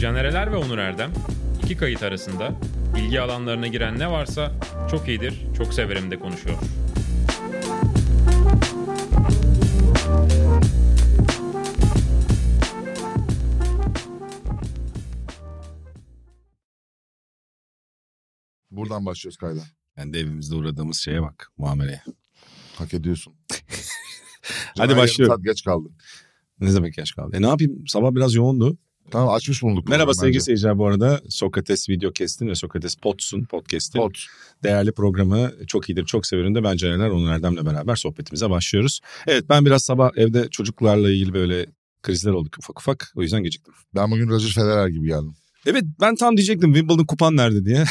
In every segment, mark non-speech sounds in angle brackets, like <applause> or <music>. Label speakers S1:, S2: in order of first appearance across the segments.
S1: Caner Eler ve Onur Erdem iki kayıt arasında ilgi alanlarına giren ne varsa çok iyidir, çok severim de konuşuyor.
S2: Buradan başlıyoruz kayda.
S3: Yani de evimizde uğradığımız şeye bak muameleye.
S2: Hak
S3: <laughs>
S2: ediyorsun.
S3: Hadi
S2: yarım
S3: başlıyorum.
S2: Saat geç kaldı.
S3: Ne demek yaş kaldı? E ne yapayım sabah biraz yoğundu.
S2: Tamam açmış bulunduk.
S3: Merhaba
S2: bence.
S3: sevgili seyirciler bu arada. Sokrates video kestin ve Sokrates Pots'un podcast'in
S2: Pot.
S3: değerli programı çok iyidir çok severim de ben Canerler Onur Erdem'le beraber sohbetimize başlıyoruz. Evet ben biraz sabah evde çocuklarla ilgili böyle krizler olduk ufak ufak o yüzden geciktim.
S2: Ben bugün Roger Federer gibi geldim.
S3: Evet ben tam diyecektim Wimbledon kupan nerede diye.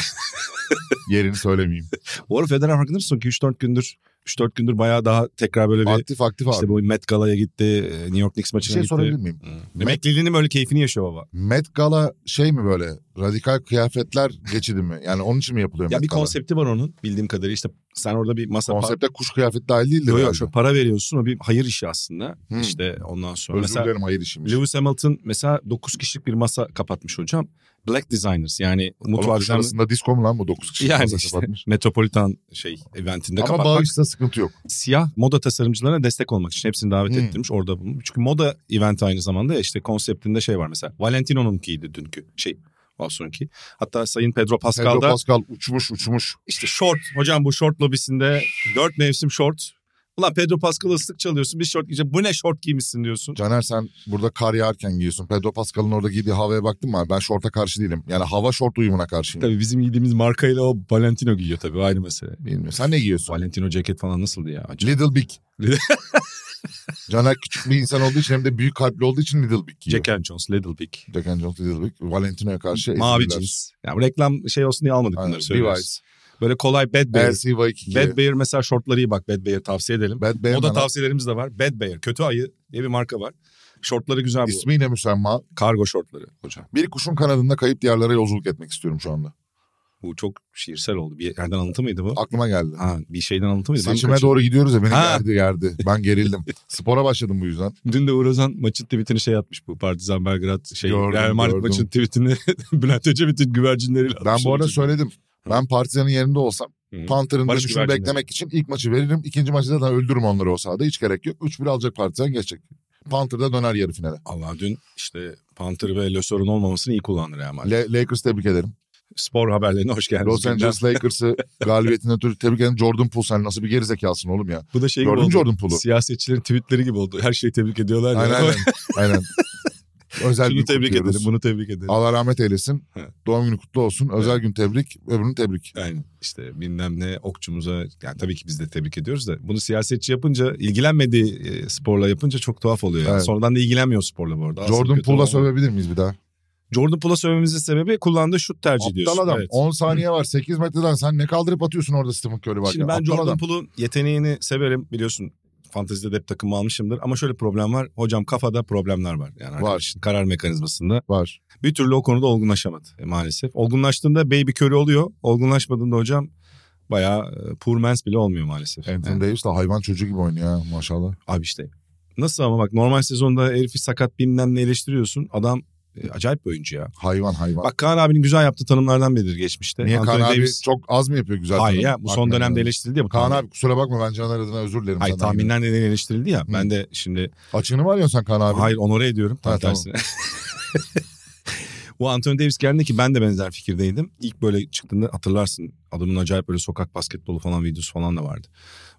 S2: Yerini
S3: <laughs>
S2: söylemeyeyim.
S3: Bu arada Federer farkında mısın ki 3-4 gündür 3-4 gündür bayağı daha tekrar böyle bir
S2: aktif aktif abi.
S3: işte bu Met Gala'ya gitti, e, New York Knicks
S2: bir
S3: maçına
S2: şey
S3: gitti.
S2: sorabilir miyim?
S3: Hı. Emekliliğinin böyle keyfini yaşıyor baba.
S2: Met Gala şey mi böyle radikal kıyafetler geçidi mi? Yani onun için mi yapılıyor
S3: Ya
S2: Met
S3: bir
S2: Gala?
S3: konsepti var onun bildiğim kadarıyla işte sen orada bir masa
S2: Konsepte kuş kıyafeti dahil
S3: pa-
S2: değildir
S3: Yok, yok,
S2: herhalde.
S3: şöyle para veriyorsun o bir hayır işi aslında.
S2: Hmm.
S3: İşte ondan sonra
S2: Özür
S3: mesela
S2: dilerim hayır işiymiş.
S3: Lewis Hamilton mesela 9 kişilik bir masa kapatmış hocam. Black Designers yani
S2: Oğlum
S3: mutfağı
S2: kuş
S3: düzenli-
S2: arasında disco mu lan bu 9 kişi?
S3: yani
S2: şey Masa
S3: işte
S2: kapatmış.
S3: Metropolitan şey eventinde
S2: Ama
S3: kapatmak.
S2: bağışta sıkıntı yok.
S3: Siyah moda tasarımcılarına destek olmak için hepsini davet
S2: Hmm.
S3: ettirmiş orada bulunmuş. Çünkü moda event aynı zamanda ya, işte konseptinde şey var mesela. Valentino'nunkiydi dünkü şey. Valson'unki. Hatta Sayın Pedro Pascal'da
S2: Pedro Pascal uçmuş uçmuş.
S3: İşte short. Hocam bu short lobisinde dört mevsim short. Ulan Pedro Pascal'ı ıslık çalıyorsun. Bir short giyecek. Bu ne short giymişsin diyorsun.
S2: Caner sen burada kar yağarken giyiyorsun. Pedro Pascal'ın orada giydiği havaya baktın mı? abi? Ben şorta karşı değilim. Yani hava şort uyumuna karşıyım.
S3: Tabii bizim giydiğimiz markayla o Valentino giyiyor tabii. O ayrı mesele.
S2: Bilmiyorum. Sen ne giyiyorsun?
S3: Valentino ceket falan nasıldı ya? Acayip.
S2: Little Big.
S3: Little-
S2: <laughs> Caner küçük bir insan olduğu için hem de büyük kalpli olduğu için Little Big giyiyor.
S3: Jack and Jones, Little Big.
S2: Jack and Jones Little Big. Valentino'ya karşı
S3: Mavi
S2: ezdiler.
S3: cins. Yani reklam şey olsun diye almadık
S2: Aynen,
S3: bunları söylüyoruz. Böyle kolay Bad Bear.
S2: Levi's. LCY2
S3: Bad
S2: Bad,
S3: Bear mesela şortları iyi bak Bad Bear tavsiye edelim.
S2: Bad
S3: Moda
S2: Bear'ın
S3: tavsiyelerimiz de var. Bad Bear, kötü ayı diye bir marka var. Şortları güzel bu.
S2: ismiyle müsemma.
S3: Kargo şortları hocam.
S2: Bir kuşun kanadında kayıp diyarlara yolculuk etmek istiyorum şu anda.
S3: Bu çok şiirsel oldu. Bir yerden alıntı mıydı bu?
S2: Aklıma geldi.
S3: Ha bir şeyden anlatamadım.
S2: Seçime doğru gidiyoruz ya beni
S3: Ha.
S2: gerdi gerdi. Ben
S3: <laughs>
S2: gerildim. Spora başladım bu yüzden.
S3: Dün de Uğur Ozan maçın tweetini şey atmış bu. Partizan Belgrad şey.
S2: Gördüm,
S3: Real Madrid
S2: gördüm.
S3: maçın tweetini <laughs> Bülent Ecevit'in güvercinleriyle
S2: Ben
S3: atmış.
S2: bu arada söyledim. Ben Partizan'ın yerinde olsam
S3: Hı.
S2: Panter'ın
S3: Barış
S2: dönüşünü
S3: güvercinleri.
S2: beklemek için ilk maçı veririm. İkinci maçı zaten öldürürüm onları o sahada. Hiç gerek yok. 3-1 alacak Partizan geçecek. Panther da döner yarı finale.
S3: Allah dün işte Panther ve Lösor'un olmamasını iyi kullandı Real Madrid.
S2: Le- Lakers tebrik ederim.
S3: Spor haberlerine hoş geldiniz.
S2: Los Angeles
S3: <laughs>
S2: Lakers'ı galibiyetinden ötürü tebrik ederim. Jordan Poole sen nasıl bir gerizekalısın oğlum ya.
S3: Bu da şey gibi
S2: Gördün mü
S3: oldu.
S2: Jordan Poole'u?
S3: Siyasetçilerin tweetleri gibi oldu. Her şeyi tebrik ediyorlar. ya.
S2: Aynen
S3: <laughs>
S2: aynen. aynen. Özel
S3: Şunu
S2: gün
S3: tebrik
S2: kutluyoruz.
S3: edelim, bunu tebrik edelim.
S2: Allah rahmet eylesin.
S3: He.
S2: Doğum günü kutlu olsun. Özel gün tebrik, öbürünü tebrik.
S3: Yani işte bilmem ne okçumuza yani tabii ki biz de tebrik ediyoruz da bunu siyasetçi yapınca ilgilenmediği e, sporla yapınca çok tuhaf oluyor. Yani.
S2: Evet.
S3: Sonradan da ilgilenmiyor sporla bu arada. Aslında
S2: Jordan
S3: kötü
S2: Poole'a
S3: olan-
S2: sövebilir miyiz bir daha?
S3: Jordan Poole'a sövmemizin sebebi kullandığı şut tercih
S2: Aptal
S3: diyorsun.
S2: adam.
S3: Evet.
S2: 10 saniye var. 8 metreden sen ne kaldırıp atıyorsun orada Stephen Curry varken?
S3: Şimdi ben
S2: Aptal
S3: Jordan
S2: adam.
S3: Poole'un yeteneğini severim biliyorsun. Fantezide de hep takımı almışımdır. Ama şöyle problem var. Hocam kafada problemler var. Yani arkadaşın karar mekanizmasında.
S2: Var.
S3: Bir türlü o konuda olgunlaşamadı e, maalesef. Olgunlaştığında baby körü oluyor. Olgunlaşmadığında hocam bayağı e, poor man's bile olmuyor maalesef.
S2: Anthony
S3: Yani.
S2: Davis de hayvan çocuğu gibi oynuyor ha, maşallah.
S3: Abi işte nasıl ama bak normal sezonda herifi sakat bilmem ne eleştiriyorsun. Adam e, acayip bir oyuncu ya.
S2: Hayvan hayvan.
S3: Bak Kaan abinin güzel yaptığı tanımlardan biridir geçmişte.
S2: Niye
S3: Anthony
S2: Kaan abi
S3: Davis-
S2: çok az mı yapıyor güzel?
S3: Hayır
S2: takım?
S3: ya bu son
S2: Aklına
S3: dönemde
S2: gelmedi.
S3: eleştirildi ya. Bu
S2: Kaan
S3: tahmin-
S2: abi kusura bakma ben Caner adına özür dilerim.
S3: Hayır
S2: senden yine.
S3: tahminler nedeniyle eleştirildi ya.
S2: Hı.
S3: Ben de şimdi
S2: Açığını mı arıyorsun sen Kaan abi?
S3: hayır onore ediyorum. Tam
S2: Ha, tamam.
S3: tersine. <laughs> Bu Anthony Davis geldiğinde ki ben de benzer fikirdeydim. İlk böyle çıktığında hatırlarsın adamın acayip böyle sokak basketbolu falan videosu falan da vardı.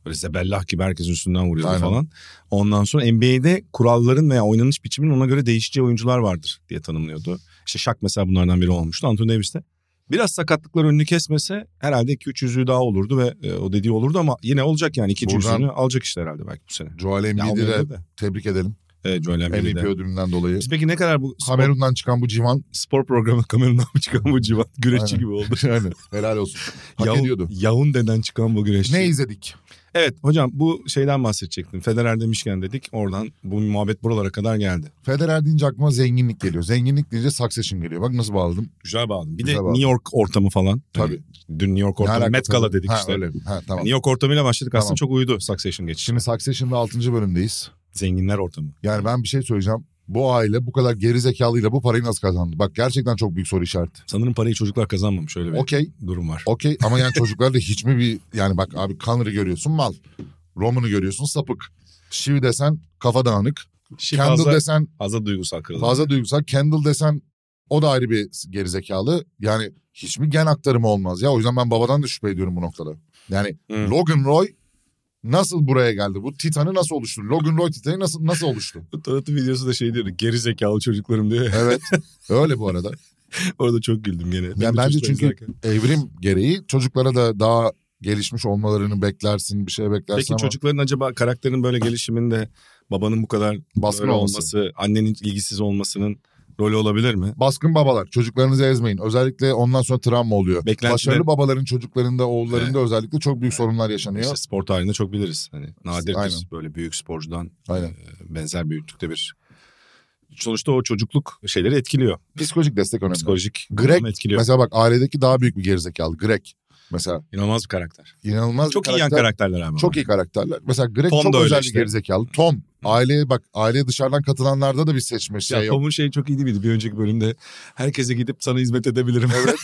S3: Böyle zebellah gibi herkesin üstünden vuruyordu
S2: Aynen.
S3: falan. Ondan sonra NBA'de kuralların veya oynanış biçiminin ona göre değişeceği oyuncular vardır diye tanımlıyordu. İşte Shaq mesela bunlardan biri olmuştu. Anthony Davis de biraz sakatlıklar önünü kesmese herhalde 2-3 yüzüğü daha olurdu ve e, o dediği olurdu ama yine olacak yani ikinci
S2: Buradan-
S3: yüzüğünü alacak işte herhalde belki bu sene.
S2: Joel
S3: Ya
S2: Embiid'i de
S3: olmayabilir de.
S2: tebrik edelim.
S3: Evet Joel Embiid'i de.
S2: MVP ödülünden dolayı.
S3: Biz peki ne kadar bu spor,
S2: Kamerun'dan çıkan bu civan. <laughs>
S3: spor programı kamerundan mı çıkan bu civan güreşçi
S2: Aynen.
S3: gibi <laughs> oldu.
S2: yani helal olsun. Hak
S3: Yahun-
S2: ediyordu.
S3: Yahunde'den çıkan bu güreşçi.
S2: Ne izledik?
S3: Evet hocam bu şeyden bahsedecektim. Federer demişken dedik oradan bu muhabbet buralara kadar geldi.
S2: Federer deyince aklıma zenginlik geliyor. Zenginlik deyince Succession geliyor. Bak nasıl bağladım.
S3: Güzel bağladın. Bir
S2: Güzel
S3: de
S2: bağladın.
S3: New York ortamı falan.
S2: Tabii.
S3: Yani dün New York
S2: Ne
S3: ortamı.
S2: alakası
S3: Met Gala
S2: var?
S3: dedik
S2: ha,
S3: işte.
S2: Öyle. Ha, tamam.
S3: New York ortamıyla başladık aslında
S2: Tamam.
S3: çok uyudu Succession geçişi.
S2: Şimdi Succession'da 6. bölümdeyiz.
S3: Zenginler ortamı.
S2: Yani ben bir şey söyleyeceğim. bu aile bu kadar geri zekalıyla bu parayı nasıl kazandı? Bak gerçekten çok büyük soru işareti.
S3: Sanırım parayı çocuklar kazanmamış öyle bir
S2: Okey.
S3: durum var.
S2: Okey ama yani çocuklarda hiç mi bir yani bak abi Connor'ı görüyorsun mal. Roman'ı görüyorsun sapık. Shiv desen kafa dağınık.
S3: Şey
S2: Kendall
S3: fazla,
S2: desen
S3: fazla duygusal kırıldı.
S2: fazla duygusal. Kendall desen o da ayrı bir gerizekalı. Yani hiç mi gen aktarımı olmaz ya? O yüzden ben babadan da şüphe ediyorum bu noktada. Yani
S3: Hı.
S2: Logan Roy nasıl buraya geldi? Bu Titan'ı nasıl oluştu? Logan Roy Titan'ı nasıl nasıl oluştu?
S3: Tanıtım videosu da şey diyordu geri zekalı çocuklarım diyor. ya.
S2: Evet. Öyle bu arada.
S3: <laughs> Orada çok güldüm gene. Benim de
S2: bence
S3: çocuklar
S2: çünkü-
S3: izlerken.
S2: Evrim gereği çocuklara da daha gelişmiş olmalarını beklersin, bir şey beklersin
S3: Peki
S2: ama
S3: çocukların acaba karakterin böyle gelişiminde babanın bu kadar
S2: baskın
S3: böyle
S2: olması.
S3: olması. annenin ilgisiz olmasının rolü olabilir mi?
S2: Baskın babalar çocuklarınızı ezmeyin. Özellikle ondan sonra travma oluyor.
S3: Beklentiler-
S2: Başarılı babaların çocuklarında, oğullarında özellikle çok büyük sorunlar yaşanıyor.
S3: İşte spor tarihinde çok biliriz. Hani nadirdir
S2: Aynen.
S3: böyle büyük sporcudan e,
S2: Aynen.
S3: benzer büyüklükte bir sonuçta o çocukluk şeyleri etkiliyor.
S2: Psikolojik destek önemli.
S3: Psikolojik
S2: Greg
S3: durum etkiliyor.
S2: Mesela bak ailedeki daha büyük bir gerizekalı Greg. Mesela
S3: İnanılmaz bir karakter.
S2: inanılmaz
S3: Çok
S2: bir
S3: iyi yan
S2: karakter.
S3: karakterler abi.
S2: Çok iyi karakterler. Mesela Greg
S3: Tom
S2: çok
S3: da öyle
S2: özel
S3: işte.
S2: bir gerizekalı. Tom aileye bak aileye dışarıdan katılanlarda da bir seçme şey
S3: ya
S2: yok.
S3: Tom'un şeyi çok iyi değil miydi bir önceki bölümde? Herkese gidip sana hizmet edebilirim. Evet.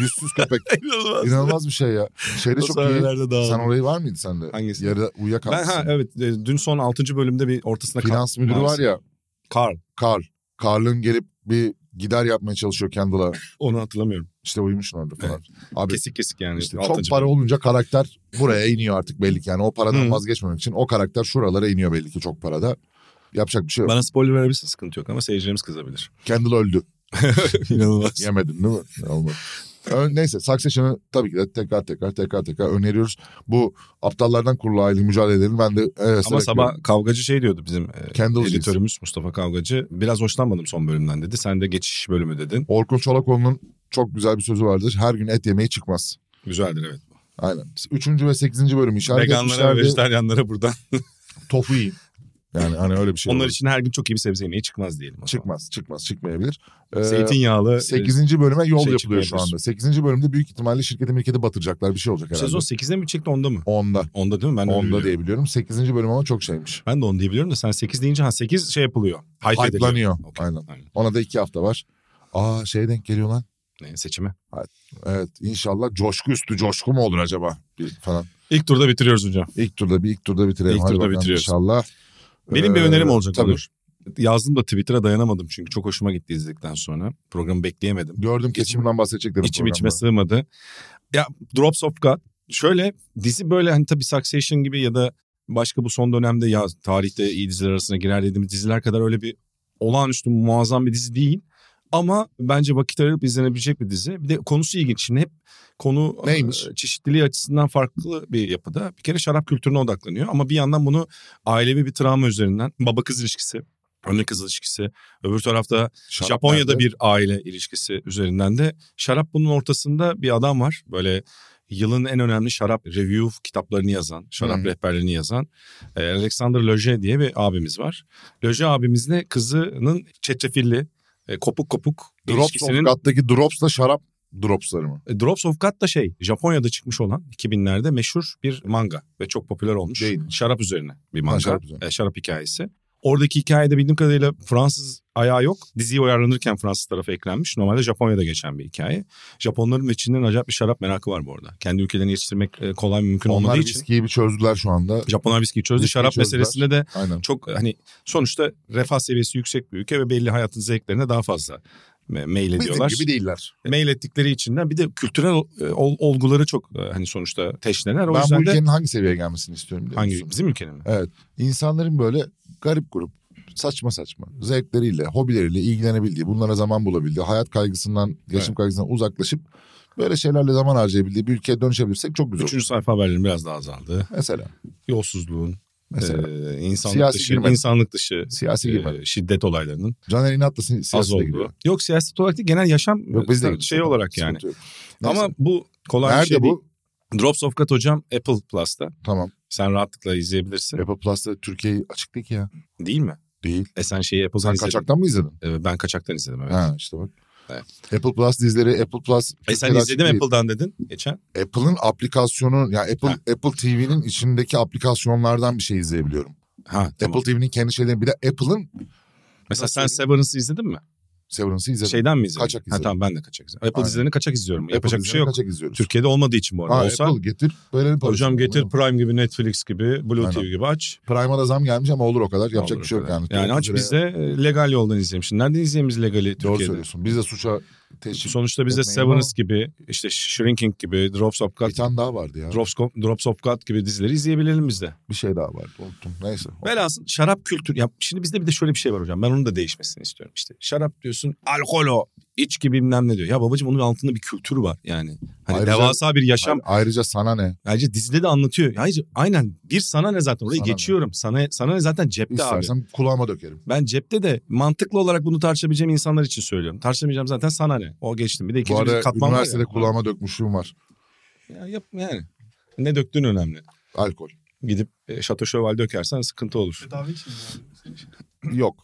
S2: Yüzsüz köpek.
S3: <laughs> İnanılmaz.
S2: İnanılmaz bir şey ya. Şeyde
S3: O
S2: çok iyi.
S3: sahnelerde daha-
S2: Sen orayı var mıydı sende?
S3: Hangisi?
S2: Yarıda
S3: Ben
S2: uyuyakalmışsın.
S3: ha evet e, dün son 6. bölümde bir ortasında
S2: Finans müdürü var ya.
S3: Karl.
S2: Karl. Karl'ın gelip bir gider yapmaya çalışıyor Kendall'a.
S3: Onu hatırlamıyorum.
S2: İşte uyumuşsun orada falan. Abi
S3: Kesik kesik yani.
S2: işte çok
S3: altıncı
S2: para
S3: bölüm.
S2: olunca karakter buraya iniyor artık belli ki. Yani o paradan
S3: Hı.
S2: vazgeçmemek için o karakter şuralara iniyor belli ki çok parada. Yapacak bir şey yok.
S3: Bana spoiler verebilirsin sıkıntı yok ama
S2: <laughs>
S3: seyircilerimiz kızabilir.
S2: Kendall öldü.
S3: İnanılmaz.
S2: Yemedin değil mi? Ya Olmadı. Ö- Neyse Succession'ı tabii ki de tekrar tekrar tekrar tekrar öneriyoruz. Bu aptallardan kurulu aile mücadelelerini ben de evet,
S3: Ama sabah kavgacı şey diyordu bizim e,
S2: Kendall'cıyız.
S3: editörümüz Mustafa Kavgacı. Biraz hoşlanmadım son bölümden dedi. Sen de geçiş bölümü dedin.
S2: Orkun Çolakoğlu'nun çok güzel bir sözü vardır. Her gün et yemeği çıkmaz.
S3: Güzeldir evet.
S2: Aynen. Üçüncü ve sekizinci bölüm işaret
S3: Veganlara ve
S2: etmişlerdi.
S3: vejetaryenlere buradan.
S2: Tofu yiyin. Yani hani öyle bir <laughs> şey.
S3: Onlar
S2: olur.
S3: için her gün çok iyi bir sebze yemeği çıkmaz diyelim. o zaman.
S2: Çıkmaz, çıkmaz, çıkmayabilir. Ee,
S3: Zeytinyağlı. e,
S2: 8. bölüme yol
S3: şey
S2: yapılıyor şu
S3: çıkmayabilir.
S2: anda. 8. bölümde büyük ihtimalle şirketi mirketi batıracaklar. Bir şey olacak herhalde.
S3: Sezon 8'de mi çıktı 10'da mı?
S2: 10'da.
S3: Onda değil mi? Ben öyle biliyorum.
S2: Onda diyebiliyorum. 8. bölüm ama çok şeymiş.
S3: Ben de onu diyebiliyorum da sen 8 deyince ha 8 şey yapılıyor. Hype ediliyor.
S2: Hype'lanıyor.
S3: Okey,
S2: Aynen. Ona da 2 hafta var. Aa şey denk geliyor lan.
S3: Ne, seçimi.
S2: Evet inşallah coşku üstü coşku mu olur acaba? Bir falan.
S3: İlk turda bitiriyoruz hocam.
S2: İlk turda bir ilk turda bitirelim.
S3: İlk
S2: Hadi
S3: turda
S2: bakalım
S3: bitiriyoruz.
S2: İnşallah.
S3: Benim bir
S2: Ee,
S3: önerim olacak
S2: tabii.
S3: olur. Yazdım da Twitter'a dayanamadım çünkü çok hoşuma gitti izledikten sonra. Programı bekleyemedim.
S2: Gördüm kesimden bahsedeceklerim.
S3: İçim içime
S2: programda.
S3: sığmadı. Ya Drops of God şöyle dizi böyle hani tabii Succession gibi ya da başka bu son dönemde ya tarihte iyi diziler arasına girer dediğimiz diziler kadar öyle bir olağanüstü muazzam bir dizi değil. Ama bence vakit ayırıp izlenebilecek bir dizi. Bir de konusu ilginç. Şimdi hep konu
S2: Neymiş?
S3: e, çeşitliliği açısından farklı bir yapıda. Bir kere şarap kültürüne odaklanıyor ama bir yandan bunu ailevi bir travma üzerinden baba kız ilişkisi, anne kız ilişkisi, öbür tarafta
S2: Şarap
S3: Japonya'da
S2: nerede?
S3: bir aile ilişkisi üzerinden de şarap bunun ortasında bir adam var. Böyle yılın en önemli şarap review kitaplarını yazan, şarap
S2: Hı.
S3: rehberlerini yazan e, Alexander Loje diye bir abimiz var. Loje abimizle kızının çetrefilli, e, kopuk kopuk
S2: Drops of
S3: ilişkisinin
S2: God'daki Drops'la şarap Drops'ları mı?
S3: E, Drops of God da şey Japonya'da çıkmış olan 2000'lerde meşhur bir manga ve çok popüler olmuş.
S2: Değil.
S3: Şarap üzerine bir manga.
S2: Ha,
S3: şarap,
S2: şarap üzerine.
S3: E, şarap hikayesi. Oradaki hikayede bildiğim kadarıyla Fransız ayağı yok. Diziyi uyarlanırken Fransız tarafı eklenmiş. Normalde Japonya'da geçen bir hikaye. Japonların ve Çinlerin acayip bir şarap merakı var bu arada. Kendi ülkelerini yetiştirmek e, kolay mümkün
S2: Onlar
S3: olmadığı için.
S2: viskiyi bir çözdüler şu anda.
S3: Japonlar viskiyi çözdü.
S2: Viskiyi
S3: şarap
S2: çözdüler.
S3: meselesinde de
S2: Aynen.
S3: çok hani sonuçta refah seviyesi yüksek bir ülke ve belli hayatın zevklerine daha fazla me- meyil
S2: Bizim
S3: ediyorlar
S2: gibi değiller.
S3: mail ettikleri içinden bir de kültürel e, ol- olguları çok e, hani sonuçta teşneler.
S2: ben
S3: O
S2: bu
S3: yüzden de
S2: ülkenin hangi seviyeye gelmesini istiyorum biliyor
S3: hangi
S2: musun?
S3: bizim ülkenin mi?
S2: Evet. İnsanların böyle garip grup saçma saçma zevkleriyle, hobileriyle ilgilenebildiği, bunlara zaman bulabildiği, hayat kaygısından, yaşam kaygısından uzaklaşıp böyle şeylerle zaman harcayabildiği bir ülkeye dönüşebilirsek çok güzel olur.
S3: Üçüncü sayfa haberlerin biraz daha azaldı.
S2: Mesela.
S3: Yolsuzluğun,
S2: Mesela.
S3: e, insanlık
S2: Siyasi
S3: dışı,
S2: girmedi.
S3: insanlık dışı
S2: Siyasi
S3: e,
S2: girmedi.
S3: şiddet olaylarının
S2: Caner İnat'la si-
S3: az
S2: siyasete
S3: olduğu.
S2: giriyor.
S3: Yok siyaset olarak değil genel yaşam
S2: Yok biz de
S3: e,
S2: girdik.
S3: şey olarak yani.
S2: Sıkıntı yok.
S3: Ama
S2: Neyse.
S3: bu kolay
S2: nerede
S3: bir şey
S2: bu?
S3: değil. Drops of God hocam Apple Plus'ta.
S2: Tamam.
S3: Sen rahatlıkla izleyebilirsin.
S2: Apple Plus'ta Türkiye'yi açık değil ki ya.
S3: Değil mi?
S2: Değil.
S3: E sen şeyi Apple'dan
S2: Sen
S3: izledin.
S2: kaçaktan mı izledin?
S3: E, ben kaçaktan izledim evet.
S2: Ha işte bak.
S3: Evet.
S2: Apple Plus dizileri, Apple Plus...
S3: E sen
S2: Türkiye'de açık
S3: izledin
S2: değil.
S3: Apple'dan dedin geçen.
S2: Apple'ın aplikasyonu yani Apple
S3: Ha.
S2: Apple TV'nin içindeki aplikasyonlardan bir şey izleyebiliyorum.
S3: Ha tamam.
S2: Apple TV'nin kendi şeyleri bir de Apple'ın
S3: Mesela sen
S2: Nasıl söyleyeyim?
S3: Severance'ı izledin mi?
S2: Severance'ı izledim.
S3: Şeyden mi izledin?
S2: Kaçak
S3: Ha
S2: izledim.
S3: tamam ben de kaçak izledim. Apple
S2: Aynen.
S3: dizilerini kaçak izliyorum.
S2: Apple
S3: Şey, Yapacak bir şey
S2: dizilerini
S3: yok.
S2: Kaçak izliyoruz.
S3: Türkiye'de olmadığı için bu arada.
S2: Ha,
S3: Olsa
S2: Apple getir. Böyle bir parası
S3: hocam
S2: yok,
S3: getir
S2: değil mi?
S3: Prime gibi Netflix gibi Blue
S2: Aynen.
S3: TV gibi aç.
S2: Prime'a da zam gelmiş ama olur o kadar. Yapacak
S3: Aldır
S2: bir şey yok
S3: kadar.
S2: yani.
S3: Yani aç
S2: Türkiye'de-
S3: biz de e, legal yoldan izleyelim. Şimdi nereden izleyelim biz legali
S2: Doğru
S3: Türkiye'de?
S2: söylüyorsun. Biz de suça teşvik.
S3: Sonuçta biz de
S2: Etmeyin ama-
S3: Severance gibi işte Shrinking gibi Drops of God,
S2: Bir tane daha vardı ya.
S3: Drops, Drops of God gibi dizileri izleyebilelim biz de.
S2: Bir şey daha vardı. Unuttum. Neyse.
S3: Velhasıl şarap kültürü. Ya şimdi bizde bir de şöyle bir şey var hocam. Ben onun da değişmesini istiyorum. İşte şarap diyorsun alkol o. İç gibi bilmem ne diyor. Ya babacığım onun altında bir kültür var yani. Hani
S2: Ayrıca-
S3: devasa bir yaşam.
S2: Ayrıca sana ne?
S3: Bence dizide de anlatıyor. Ya Ayrıca aynen bir sana ne zaten oraya
S2: Sana ne?
S3: geçiyorum. Sana sana ne zaten cepte abi.
S2: İstersen kulağıma dökerim.
S3: Ben cepte de mantıklı olarak bunu tartışabileceğim insanlar için söylüyorum. Tartışamayacağım zaten sana ne? O geçtim. Bir de
S2: Bu
S3: ikinci bir
S2: arada
S3: katman var
S2: üniversitede
S3: ya.
S2: kulağıma dökmüşlüğüm var.
S3: Ya yap yani. Ne döktüğün önemli.
S2: Alkol.
S3: Gidip e, Şato Şöval dökersen sıkıntı olur.
S4: Tedavi için yani.
S2: Yok.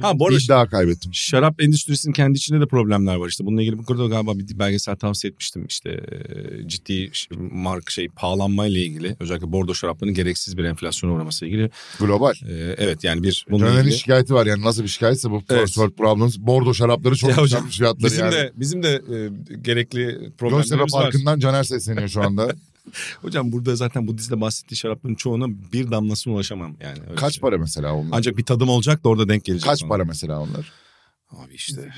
S3: Ha bu arada
S2: İddia kaybettim.
S3: Şarap endüstrisinin kendi içinde de problemler var işte. Bununla ilgili burada galiba bir belgesel tavsiye etmiştim. İşte e, ciddi ş- mark şey pahalanmayla ilgili özellikle bordo şaraplarının gereksiz bir enflasyona uğraması ile ilgili.
S2: Global.
S3: E, evet yani bir bununla
S2: Caner'in
S3: ilgili.
S2: şikayeti var yani nasıl bir şikayetse bu
S3: Evet.
S2: First World Problems. Bordo şarapları çok
S3: Ya
S2: güzel
S3: hocam,
S2: fiyatları
S3: Bizim
S2: yani.
S3: de bizim de e, gerekli
S2: Göztepe
S3: problemlerimiz var.
S2: Parkı'ndan Caner sesleniyor şu
S3: <laughs>
S2: anda.
S3: Hocam burada zaten bu dizide bahsettiği şarapların çoğuna bir damlasına ulaşamam yani. Öyle
S2: Kaç
S3: şey.
S2: para mesela onlar?
S3: Ancak bir tadım olacak da orada denk gelecek.
S2: Kaç
S3: bana.
S2: para mesela onlar?
S3: Abi işte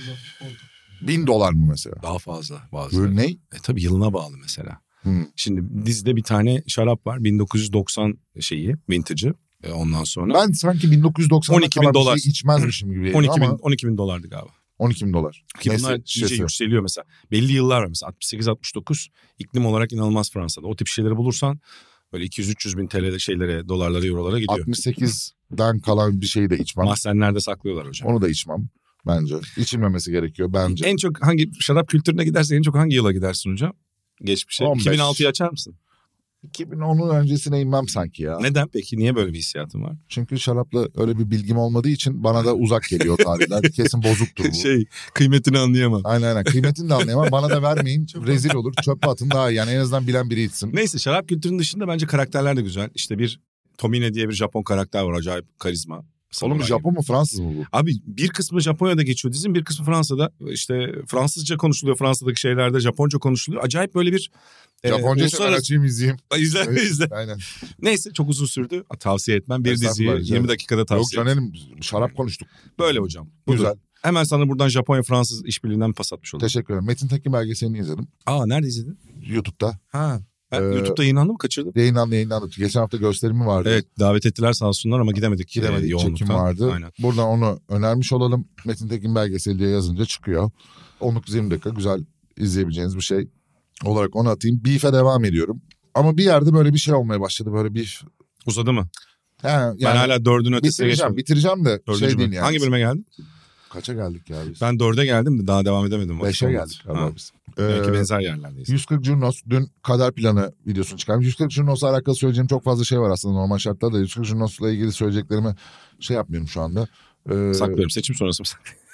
S2: Bin dolar mı mesela?
S3: daha fazla bazı.
S2: Böyle ne?
S3: E tabii yılına bağlı mesela.
S2: Hı.
S3: Şimdi dizide bir tane şarap var. 1990 şeyi, vintage'ı. E ondan sonra
S2: Ben sanki 1990'da
S3: 12 bin
S2: kalan
S3: dolar.
S2: bir şey içmezmişim
S3: <clears throat>
S2: gibi.
S3: 12 bin,
S2: ama
S3: 12 bin dolardı galiba.
S2: 12 bin dolar.
S3: Ki
S2: Neyse,
S3: bunlar iyice
S2: şişesi.
S3: yükseliyor mesela. Belli yıllar var mesela 68-69 iklim olarak inanılmaz Fransa'da. O tip şeyleri bulursan böyle 200-300 bin TL şeylere, dolarlara, eurolara gidiyor.
S2: 68'den kalan bir şeyi de içmem.
S3: Mahzenlerde saklıyorlar hocam.
S2: Onu da içmem bence. İçilmemesi gerekiyor bence.
S3: En çok hangi şarap kültürüne gidersen en çok hangi yıla gidersin hocam? Geçmişe.
S2: 15.
S3: 2006'yı açar mısın?
S2: 2010'un öncesine inmem sanki ya.
S3: Neden peki? Niye böyle bir hissiyatın var?
S2: Çünkü şarapla öyle bir bilgim olmadığı için bana da uzak geliyor
S3: <laughs>
S2: tarihler. Kesin bozuktur bu.
S3: şey kıymetini anlayamam.
S2: Aynen aynen. Kıymetini de anlayamam. Bana da vermeyin. Rezil olur. Çöpe atın daha iyi. Yani en azından bilen biri içsin.
S3: Neyse şarap kültürünün dışında bence karakterler de güzel. İşte bir Tomine diye bir Japon karakter var acayip karizma.
S2: Oğlum
S3: Samuray gibi.
S2: Japon mu Fransız mı bu?
S3: Abi bir kısmı Japonya'da geçiyor dizinin bir kısmı Fransa'da işte Fransızca konuşuluyor Fransa'daki şeylerde Japonca konuşuluyor. Acayip böyle bir e,
S2: Japonca ben
S3: uluslararası...
S2: açayım izleyeyim.
S3: <laughs> İzle, izle.
S2: Aynen.
S3: Neyse çok uzun sürdü. Tavsiye etmem. Bir
S2: Estağfurullah,
S3: diziyi
S2: rica ederim.
S3: 20 dakikada
S2: Yok
S3: tavsiye.
S2: Caner'im şarap konuştuk.
S3: Böyle hocam. Budur.
S2: Güzel.
S3: Hemen sana buradan Japonya Fransız işbirliğinden pas atmış oldum.
S2: Teşekkür ederim. Metin Tekin belgeselini izledim.
S3: Aa nerede izledin?
S2: YouTube'da.
S3: Ha. Ben
S2: Ee,
S3: YouTube'da yayınlandı mı? Kaçırdım.
S2: Yayınlandı yayınlandı. Geçen hafta gösterimi vardı.
S3: Evet davet ettiler sağ olsunlar ama gidemedik.
S2: Gidemedik.
S3: Ee,
S2: çekim
S3: yoğunluktan.
S2: vardı.
S3: Aynen.
S2: Buradan onu önermiş olalım. Metin Tekin belgeseli diye yazınca çıkıyor. 19-20 dakika güzel izleyebileceğiniz bir şey olarak onu atayım. Beef'e devam ediyorum. Ama bir yerde böyle bir şey olmaya başladı. Böyle bir...
S3: Uzadı mı?
S2: He, yani
S3: ben hala dördün ötesine
S2: bitireceğim,
S3: geçmedim.
S2: bitireceğim de
S3: Dördüncü
S2: şey
S3: bölüm.
S2: değil yani.
S3: Hangi bölüme geldin?
S2: Kaça geldik ya biz?
S3: Ben dörde geldim de daha devam edemedim. vakit
S2: Beşe
S3: olmadı.
S2: geldik
S3: Ha,
S2: galiba biz.
S3: Belki
S2: Ee,
S3: benzer yerlerdeyiz.
S2: 140 Jurnos dün kader planı videosunu çıkarmış. 140 Jurnos'la alakalı söyleyeceğim çok fazla şey var aslında normal şartlarda. 140 Jurnos'la ilgili söyleyeceklerimi şey yapmıyorum şu anda. Ee,
S3: Saklıyorum seçim sonrası mı?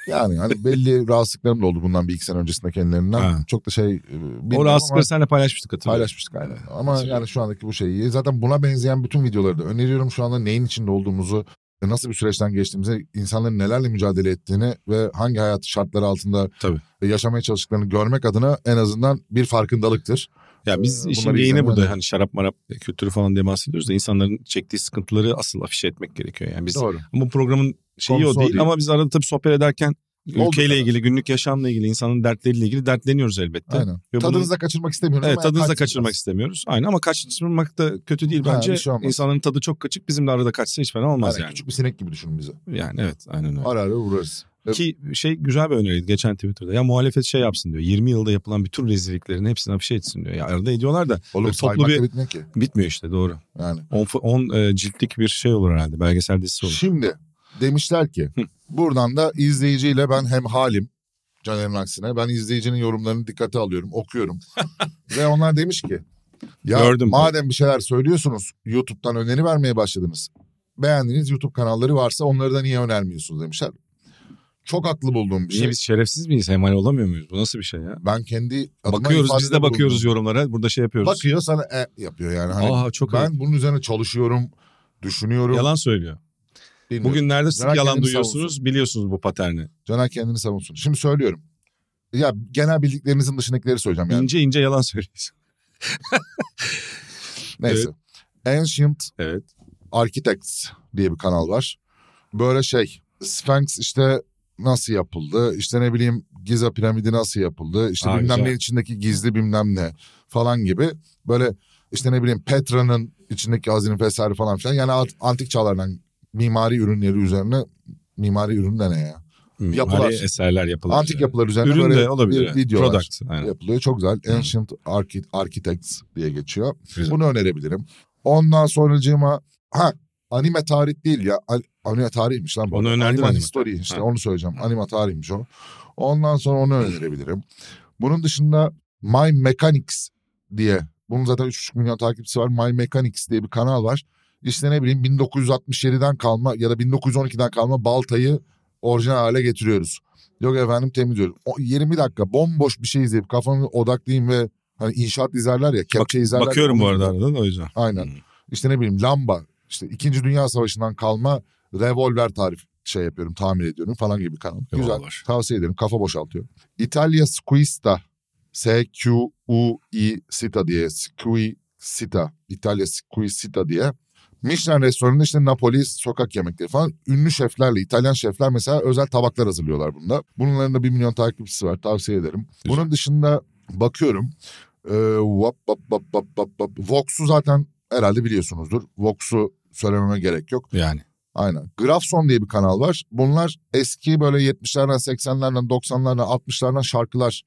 S2: Yani hani
S3: <laughs>
S2: belli rahatsızlıklarım da oldu bundan bir iki sene öncesinde kendilerinden.
S3: Ha.
S2: Çok da şey e, bilmiyorum
S3: O
S2: ama
S3: rahatsızlıkları seninle paylaşmıştık hatırlıyorum.
S2: paylaşmıştık aynen. Ama yani şu andaki bu şeyi zaten buna benzeyen bütün videoları da öneriyorum. Şu anda neyin içinde olduğumuzu, nasıl bir süreçten geçtiğimizi, insanların nelerle mücadele ettiğini ve hangi hayat şartları altında e,
S3: Tabii.
S2: yaşamaya çalıştıklarını görmek adına en azından bir farkındalıktır.
S3: Ya biz
S2: Ee,
S3: işin
S2: bunları
S3: yayını
S2: izlemen
S3: burada
S2: önemli.
S3: hani şarap marap kültürü falan diye bahsediyoruz da insanların çektiği sıkıntıları asıl afişe etmek gerekiyor. Yani biz
S2: Doğru.
S3: bu programın şeyi
S2: Konusu
S3: o
S2: o
S3: değil,
S2: değil.
S3: ama biz arada tabii sohbet ederken
S2: Oldu
S3: ülkeyle
S2: kadar.
S3: ilgili, günlük yaşamla ilgili, insanın dertleriyle ilgili dertleniyoruz elbette.
S2: Aynen.
S3: Ve
S2: Tadınızı
S3: bunun-
S2: da kaçırmak istemiyorum.
S3: Evet
S2: ama
S3: tadınızı da
S2: kaçıracağız.
S3: kaçırmak istemiyoruz. Aynen ama kaçırmak da kötü değil
S2: Ha,
S3: bence.
S2: bir şey olmaz.
S3: İnsanların tadı çok kaçık bizim de arada kaçsa hiç fena olmaz
S2: Aynen,
S3: yani.
S2: Küçük bir sinek gibi düşünün bizi.
S3: Yani evet aynen öyle.
S2: Ara ara uğrarız. Evet.
S3: Ki şey güzel bir öneriydi geçen Twitter'da. Ya muhalefet şey yapsın diyor. 20 yılda yapılan bütün rezilliklerin hepsini afişe etsin diyor. Ya arada ediyorlar da
S2: Oğlum
S3: Böyle toplu
S2: saymakla
S3: bir-
S2: bitmiyor ki.
S3: bitmiyor işte doğru.
S2: Yani.
S3: 10 ciltlik bir şey olur herhalde. Belgesel dizisi olur.
S2: Şimdi demişler ki
S3: Hı.
S2: buradan da izleyiciyle ben hem halim Caner'in aksine ben izleyicinin yorumlarını dikkate alıyorum
S3: <laughs>
S2: okuyorum ve onlar demiş ki ya
S3: Gördüm.
S2: madem bir şeyler söylüyorsunuz YouTube'dan öneri vermeye başladınız beğendiğiniz YouTube kanalları varsa onları da niye önermiyorsunuz demişler. Çok haklı bulduğum bir
S3: Niye
S2: şey.
S3: biz şerefsiz miyiz? Hemal olamıyor muyuz? Bu nasıl bir şey ya?
S2: Ben kendi adıma
S3: Bakıyoruz
S2: ifadede
S3: biz de bakıyoruz
S2: bulundum.
S3: yorumlara. Burada şey yapıyoruz.
S2: Bakıyor sana e yapıyor yani. Hani
S3: Aa çok
S2: ben bunun üzerine çalışıyorum, düşünüyorum.
S3: Yalan söylüyor.
S2: Bilmiyorum.
S3: Bugünlerde sık
S2: Merak
S3: yalan
S2: kendini
S3: duyuyorsunuz.
S2: savunsun.
S3: Biliyorsunuz bu paterni.
S2: Caner kendini savunsun. Şimdi söylüyorum. Ya genel bildiklerinizin dışındakileri söyleyeceğim yani.
S3: İnce ince yalan <laughs> söylüyorsun.
S2: Neyse. Ancient
S3: Evet.
S2: Architects diye bir kanal var. Böyle şey Sphinx işte nasıl yapıldı işte ne bileyim Giza piramidi nasıl yapıldı işte
S3: Aa,
S2: bilmem
S3: güzel.
S2: ne içindeki gizli bilmem ne falan gibi böyle işte ne bileyim Petra'nın içindeki hazine vesaire falan filan yani at- antik çağlardan mimari ürünleri üzerine mimari ürün de ne ya
S3: Mimari
S2: Yapılar.
S3: hani eserler yapılar.
S2: antik yapılar üzerine
S3: Ürün
S2: böyle
S3: de olabilir.
S2: bir
S3: yani.
S2: videolar
S3: Product. Aynen.
S2: yapılıyor çok güzel Ancient Archi- Architects diye geçiyor
S3: Güzel.
S2: bunu önerebilirim. Ondan sonracığıma ha anime tarih değil ya. Al- anime tarihmiş lan bu.
S3: Onu önerdin
S2: anime,
S3: anime.
S2: history işte
S3: Ha.
S2: onu söyleyeceğim. Anime tarihmiş o. Ondan sonra onu önerebilirim. Bunun dışında My Mechanics diye. Bunun zaten 3,5 milyon takipçisi var. My Mechanics diye bir kanal var. İşte ne bileyim 1967'den kalma ya da 1912'den kalma baltayı orijinal hale getiriyoruz. Yok efendim temizliyoruz. O 20 dakika bomboş bir şey izleyip kafamı odaklayayım ve hani inşaat izlerler ya kepçe izlerler. ya,
S3: Bakıyorum
S2: onun
S3: bu arada
S2: gibi.
S3: aradan o yüzden.
S2: Aynen.
S3: Hmm.
S2: İşte ne bileyim lamba. işte 2. Dünya Savaşı'ndan kalma revolver tarif şey yapıyorum tahmin ediyorum falan gibi kanal. Güzel.
S3: Revolver.
S2: Tavsiye ederim. Kafa boşaltıyor. İtalya Squista. S-Q-U-I Sita diye. Squisita. İtalya Squisita diye. Michelin restoranında işte Napoli sokak yemekleri falan. Ünlü şeflerle, İtalyan şefler mesela özel tabaklar hazırlıyorlar bunda. Bunların da 1 milyon takipçisi var. Tavsiye ederim.
S3: Güzel.
S2: Bunun dışında bakıyorum. Ee, vap, vap, vap, vap, vap, vap. Vox'u zaten herhalde biliyorsunuzdur. Vox'u söylememe gerek yok.
S3: Yani.
S2: Aynen. Grafson diye bir kanal var. Bunlar eski böyle 70'lerden, 80'lerden, 90'lardan, 60'lardan şarkılar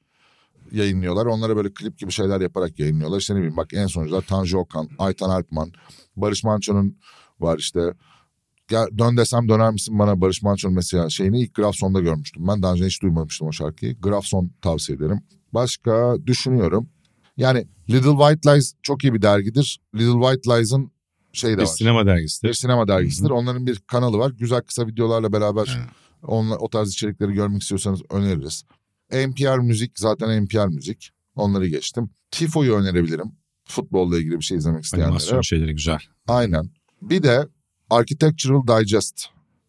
S2: yayınlıyorlar. Onlara böyle klip gibi şeyler yaparak yayınlıyorlar. İşte ne bileyim bak en sonuncular Tanju Okan, Aytan Alpman, Barış Manço'nun var işte. Gel, dön desem döner misin bana Barış Manço'nun mesela şeyini ilk Grafson'da görmüştüm. Ben daha önce hiç duymamıştım o şarkıyı. Grafson tavsiye ederim. Başka düşünüyorum. Yani Little White Lies çok iyi bir dergidir. Little White Lies'ın şey de
S3: Bir
S2: var.
S3: sinema dergisidir.
S2: Bir sinema dergisidir. Onların bir kanalı var. Güzel kısa videolarla beraber
S3: Evet.
S2: onla, o tarz içerikleri görmek istiyorsanız öneririz. NPR Müzik zaten NPR Müzik. Onları geçtim. Tifo'yu önerebilirim. Futbolla ilgili bir şey izlemek
S3: Animasyon
S2: isteyenlere.
S3: şeyleri güzel.
S2: Aynen. Bir de Architectural Digest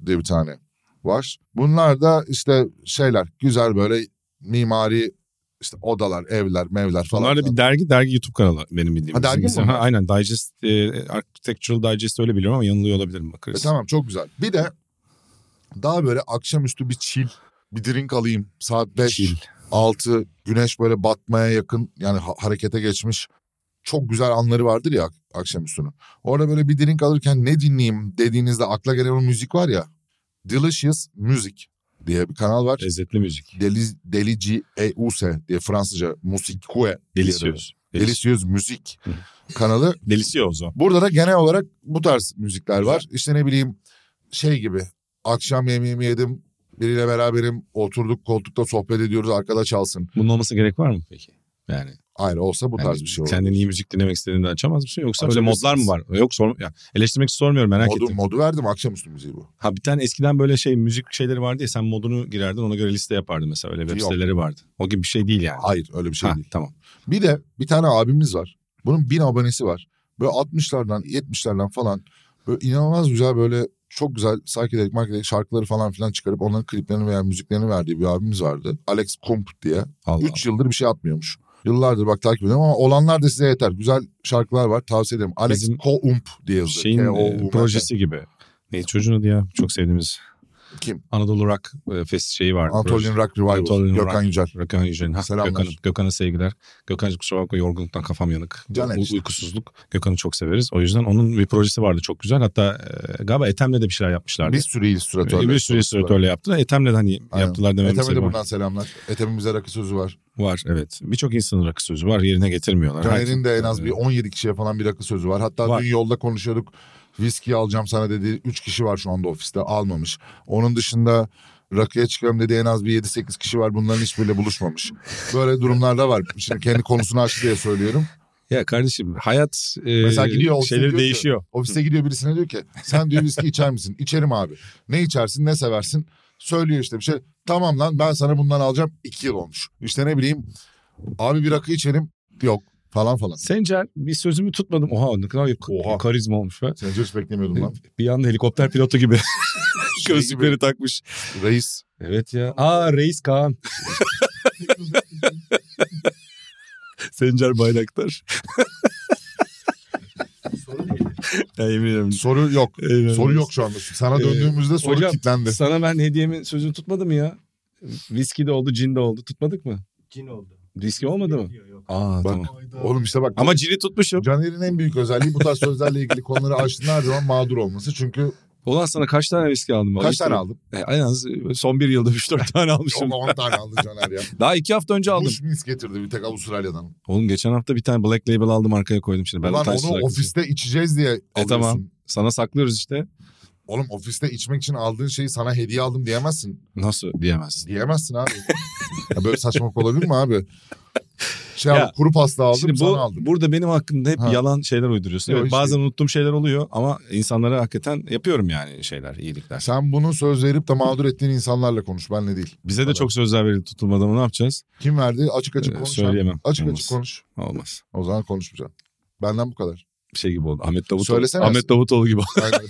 S2: diye bir tane var. Bunlar da işte şeyler güzel böyle mimari işte odalar, evler, mevler falan.
S3: Bunlar da bir dergi, dergi YouTube kanalı benim bildiğim.
S2: Ha, dergi
S3: Bizim-
S2: mi
S3: bizim-
S2: bunlar?
S3: Ha, Aynen Digest, e, Architectural Digest öyle biliyorum ama yanılıyor olabilirim
S2: E
S3: bakarız.
S2: tamam çok güzel. Bir de daha böyle akşamüstü bir chill, bir drink alayım. Saat 5,
S3: Chill.
S2: 6, güneş böyle batmaya yakın yani ha- harekete geçmiş. Çok güzel anları vardır ya ak- akşamüstünün. Orada böyle bir drink alırken ne dinleyeyim dediğinizde akla gelen o müzik var ya. Delicious Music diye bir kanal var.
S3: Lezzetli müzik.
S2: Deli, Delici E-U-S diye Fransızca E Musikue.
S3: Delisiyoruz.
S2: Delicious Müzik
S3: Hı.
S2: kanalı.
S3: Delisiyoruz o.
S2: Burada da genel olarak bu tarz müzikler var. İşte ne bileyim şey gibi akşam yemeğimi yedim biriyle beraberim oturduk koltukta sohbet ediyoruz arkada çalsın.
S3: Bunun olması gerek var mı peki? Yani,
S2: Hayır olsa bu
S3: yani
S2: tarz bir şey olur.
S3: Kendin iyi müzik dinlemek istediğinde açamaz mısın? Yoksa öyle
S2: Açabilirsiniz.
S3: modlar mı var? Yok sorm ya, eleştirmek için sormuyorum merak
S2: Modu,
S3: ettim.
S2: modu verdim akşamüstü müziği bu.
S3: Ha bir tane eskiden böyle şey müzik şeyleri vardı ya sen modunu girerdin ona göre liste yapardın mesela öyle web
S2: Yok.
S3: siteleri vardı. O gibi bir şey değil yani.
S2: Hayır öyle bir şey
S3: ha,
S2: değil.
S3: Tamam.
S2: Bir de bir tane abimiz var. Bunun bin abonesi var. Böyle 60'lardan 70'lerden falan böyle inanılmaz güzel böyle çok güzel psychedelic marketing şarkıları falan filan çıkarıp onların kliplerini veya müziklerini verdiği bir abimiz vardı. Alex Kump diye.
S3: Allah
S2: 3 yıldır bir şey atmıyormuş. Yıllardır bak takip ediyorum ama olanlar da size yeter. Güzel şarkılar var tavsiye ederim. Alex
S3: Bizim
S2: Koump diye
S3: Allah.
S2: yazıyor.
S3: Şeyin e,
S2: K-O-U-M-P.
S3: projesi gibi. Ne çocuğun adı ya? Çok sevdiğimiz.
S2: Kim?
S3: Anadolu Rock e, Fest şeyi vardı.
S2: Anatolian Rock Revival.
S3: Anatolian
S2: Gökhan
S3: Rock.
S2: Yücel.
S3: Gökhan Yücel'in. Ha,
S2: Selamlar.
S3: Gökhan, Gökhan'a sevgiler. Gökhan kusura bakma yorgunluktan kafam yanık.
S2: Can
S3: U-
S2: işte.
S3: uykusuzluk. Gökhan'ı çok severiz. O yüzden onun bir projesi vardı çok güzel. Hatta e, galiba Ethem'le de bir şeyler yapmışlardı.
S2: Bir sürü illüstratör.
S3: E, bir sürü illüstratörle yaptı. Ethem'le de hani
S2: Aynen.
S3: yaptılar dememiz
S2: Ethem'e de
S3: sebebi
S2: buradan selamlar. Ethem'in bize rakı sözü var.
S3: var. Evet. Birçok insanın rakı sözü var. Yerine getirmiyorlar.
S2: Caner'in de en az
S3: Evet.
S2: bir 17 kişiye falan bir rakı sözü var. Hatta
S3: Var.
S2: dün yolda konuşuyorduk. Viski alacağım sana dedi. 3 kişi var şu anda ofiste almamış. Onun dışında rakıya çıkıyorum dedi en az bir 7-8 kişi var. Bunların hiçbiriyle buluşmamış. Böyle durumlarda var. Şimdi kendi konusunu açtı diye söylüyorum.
S3: Ya kardeşim hayat e,
S2: Mesela gidiyor ofise
S3: şeyleri
S2: diyor ki-
S3: değişiyor.
S2: Ofise gidiyor birisine diyor ki sen diyor viski içer misin? İçerim abi. Ne içersin ne seversin? Söylüyor işte bir şey. Tamam lan ben sana bundan alacağım. iki yıl olmuş. İşte ne bileyim abi bir rakı içelim. Yok falan falan.
S3: Sencer bir sözümü tutmadım. Oha ne kadar yuk-
S2: Oha.
S3: karizma olmuş be.
S2: Seni hiç beklemiyordum lan.
S3: Bir anda helikopter pilotu gibi.
S2: Şey
S3: <laughs> Gözlükleri takmış.
S2: Reis.
S3: Evet ya. Aa Reis Kaan. <laughs> Sencer Bayraktar. ya yemin ederim.
S2: Soru yok.
S3: Eyvallah.
S2: Soru yok şu anda. Sana
S3: Ee,
S2: döndüğümüzde soru
S3: hocam,
S2: kilitlendi.
S3: <laughs> Sana ben hediyemin sözünü tutmadım ya. Viski de oldu, cin de oldu. Tutmadık mı?
S4: Cin oldu.
S3: Viski olmadı mı?
S4: Yok, yok.
S3: Aa
S2: Bak.
S3: tamam.
S2: Oğlum işte bak.
S3: Ama cini tutmuşum.
S2: Caner'in en büyük özelliği bu tarz sözlerle ilgili konuları açtığında her zaman mağdur olması. Çünkü
S3: Ulan sana kaç tane viski aldım?
S2: kaç tane aldım?
S3: E, en az son bir yılda 3-4 tane almışım.
S2: Yok 10 tane aldı Caner
S3: <laughs>
S2: ya.
S3: Daha iki hafta önce aldım.
S2: Bush Mills getirdi bir tek Avustralya'dan.
S3: Oğlum geçen hafta bir tane Black Label aldım arkaya koydum şimdi. Ben
S2: Ulan
S3: Otaysız
S2: onu
S3: arkadaşım. E,
S2: ofiste içeceğiz diye alıyorsun.
S3: tamam. Sana saklıyoruz işte.
S2: Oğlum ofiste içmek için aldığın şeyi sana hediye aldım diyemezsin.
S3: Nasıl diyemezsin.
S2: Diyemezsin
S3: <laughs>
S2: abi. ya böyle saçmalık olabilir mi abi? Şey
S3: Ya,
S2: abi, kuru pasta aldım
S3: Şimdi
S2: sana
S3: bu
S2: aldım.
S3: burada benim hakkımda hep
S2: Ha.
S3: yalan şeyler uyduruyorsun.
S2: Yo,
S3: Evet,
S2: hiç
S3: bazen unuttuğum şeyler oluyor ama insanlara hakikaten yapıyorum yani şeyler, iyilikler.
S2: Sen bunu söz verip de mağdur ettiğin insanlarla konuş benle değil.
S3: Bize de
S2: Vallahi.
S3: çok sözler verildi tutulmadan ne yapacağız?
S2: Kim verdi? Açık açık
S3: Ee,
S2: konuş. abi.
S3: söyleyemem.
S2: Açık
S3: Olmaz.
S2: açık konuş.
S3: Olmaz.
S2: O zaman konuşmayacağım. Benden bu kadar.
S3: Şey gibi oldu. Ahmet Davutoğlu.
S2: Söylesene.
S3: Ahmet Davutoğlu gibi. oldu. <laughs>
S2: Aynen.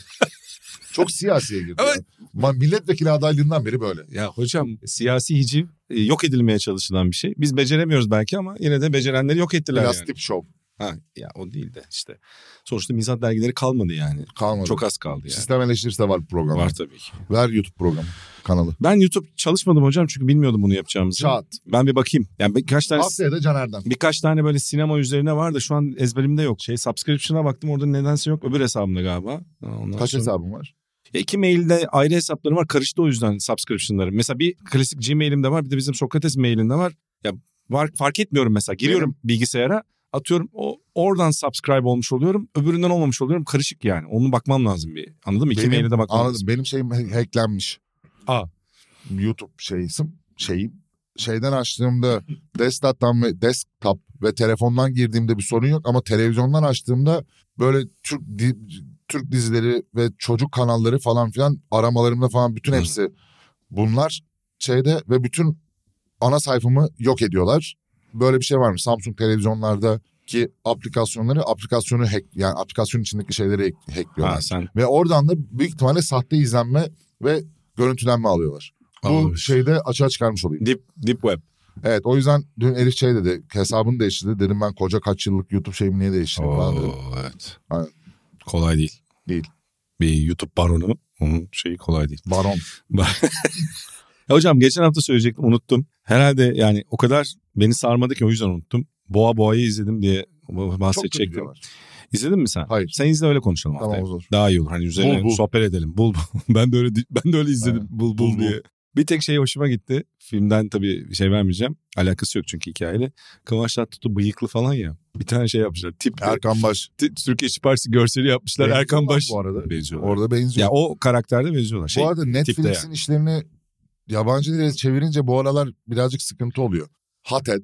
S2: Çok siyasiye girdi.
S3: Evet.
S2: Evet. Milletvekili adaylığından beri böyle.
S3: ya hocam <laughs> siyasi hiciv e, yok edilmeye çalışılan bir şey. Biz beceremiyoruz belki ama yine de becerenleri yok ettiler
S2: Biraz
S3: yani.
S2: tip şov.
S3: Ha, ya o değil de işte. Sonuçta mizah dergileri kalmadı yani.
S2: Kalmadı.
S3: Çok az kaldı yani.
S2: Sistem eleştirisi de var programda.
S3: Var tabii ki.
S2: Ver YouTube programı kanalı.
S3: Ben YouTube çalışmadım hocam çünkü bilmiyordum bunu yapacağımızı.
S2: Çat.
S3: Ben bir bakayım. Yani birkaç tane
S2: Haftaya da Caner'den.
S3: birkaç tane böyle sinema üzerine var da şu an ezberimde yok. Şey subscription'a baktım orada nedense yok. Öbür hesabımda galiba. Ondan
S2: Kaç
S3: sonra-
S2: hesabın var?
S3: Ya iki mailde ayrı hesaplarım var. Karıştı o yüzden subscription'larım. Mesela bir klasik Gmail'imde var bir de bizim Sokrates mailinde var. Ya var, fark etmiyorum mesela. Giriyorum bilgisayara atıyorum o oradan subscribe olmuş oluyorum. Öbüründen olmamış oluyorum. Karışık yani. Onu bakmam lazım bir. Anladın mı? İki
S2: Benim-
S3: maile de bakmam lazım.
S2: Anladım. Benim şeyim ha- hacklenmiş.
S3: Aa.
S2: YouTube şeysim, şeyim. Şeyden açtığımda desktop'tan ve desktop ve telefondan girdiğimde bir sorun yok ama televizyondan açtığımda böyle Türk di- Türk dizileri ve çocuk kanalları falan filan aramalarımda falan bütün
S3: Hı.
S2: hepsi bunlar şeyde ve bütün ana sayfamı yok ediyorlar. Böyle bir şey var mı? Samsung televizyonlardaki aplikasyonları aplikasyonu hack yani aplikasyon içindeki şeyleri hack- hackliyorlar.
S3: Ha, sen
S2: Ve oradan da büyük ihtimalle sahte izlenme ve görüntülenme alıyorlar. Bu şey-
S3: Anlamış.
S2: şeyde açığa çıkarmış olayım.
S3: Deep, deep web.
S2: Evet o yüzden dün Elif şey dedi hesabını değiştirdi. Dedim ben koca kaç yıllık YouTube şeyimi niye değiştirdim falan dedim.
S3: Oo, evet.
S2: şey Aynen.
S3: Kolay değil.
S2: Değil.
S3: Bir YouTube baronu onun şeyi kolay değil.
S2: Baron.
S3: Ya hocam geçen hafta söyleyecektim unuttum. Herhalde yani o kadar beni sarmadı ki o yüzden unuttum. Boğa Boğa'yı izledim diye
S2: Çok kötü
S3: bahsedecektim.
S2: diyorlar.
S3: İzledin mi sen?
S2: Hayır.
S3: Sen izle öyle konuşalım
S2: Tamam
S3: haftaya.
S2: olur.
S3: Daha iyi olur. Hani üzerine
S2: Bul, bul.
S3: sohbet edelim. Bul bul. <laughs> ben de öyle di- ben de öyle izledim. Bul, bul
S2: Bul, bul.
S3: diye. Bir tek şey hoşuma gitti. Filmden tabii şey vermeyeceğim. Alakası yok çünkü hikayeyle. Kıvanç Tatlıtuğ bıyıklı falan ya. Bir tane şey yapmışlar. Tip
S2: Erkan Baş.
S3: T- Türkiye İşçi Partisi görseli yapmışlar.
S2: Benziyorlar
S3: Erkan Baş.
S2: bu arada.
S3: Benziyorlar.
S2: Orada benziyor.
S3: Ya o karakterde benziyorlar. Şey,
S2: bu arada Netflix'in işlerini yabancı dile çevirince bu aralar birazcık sıkıntı oluyor. Hatet,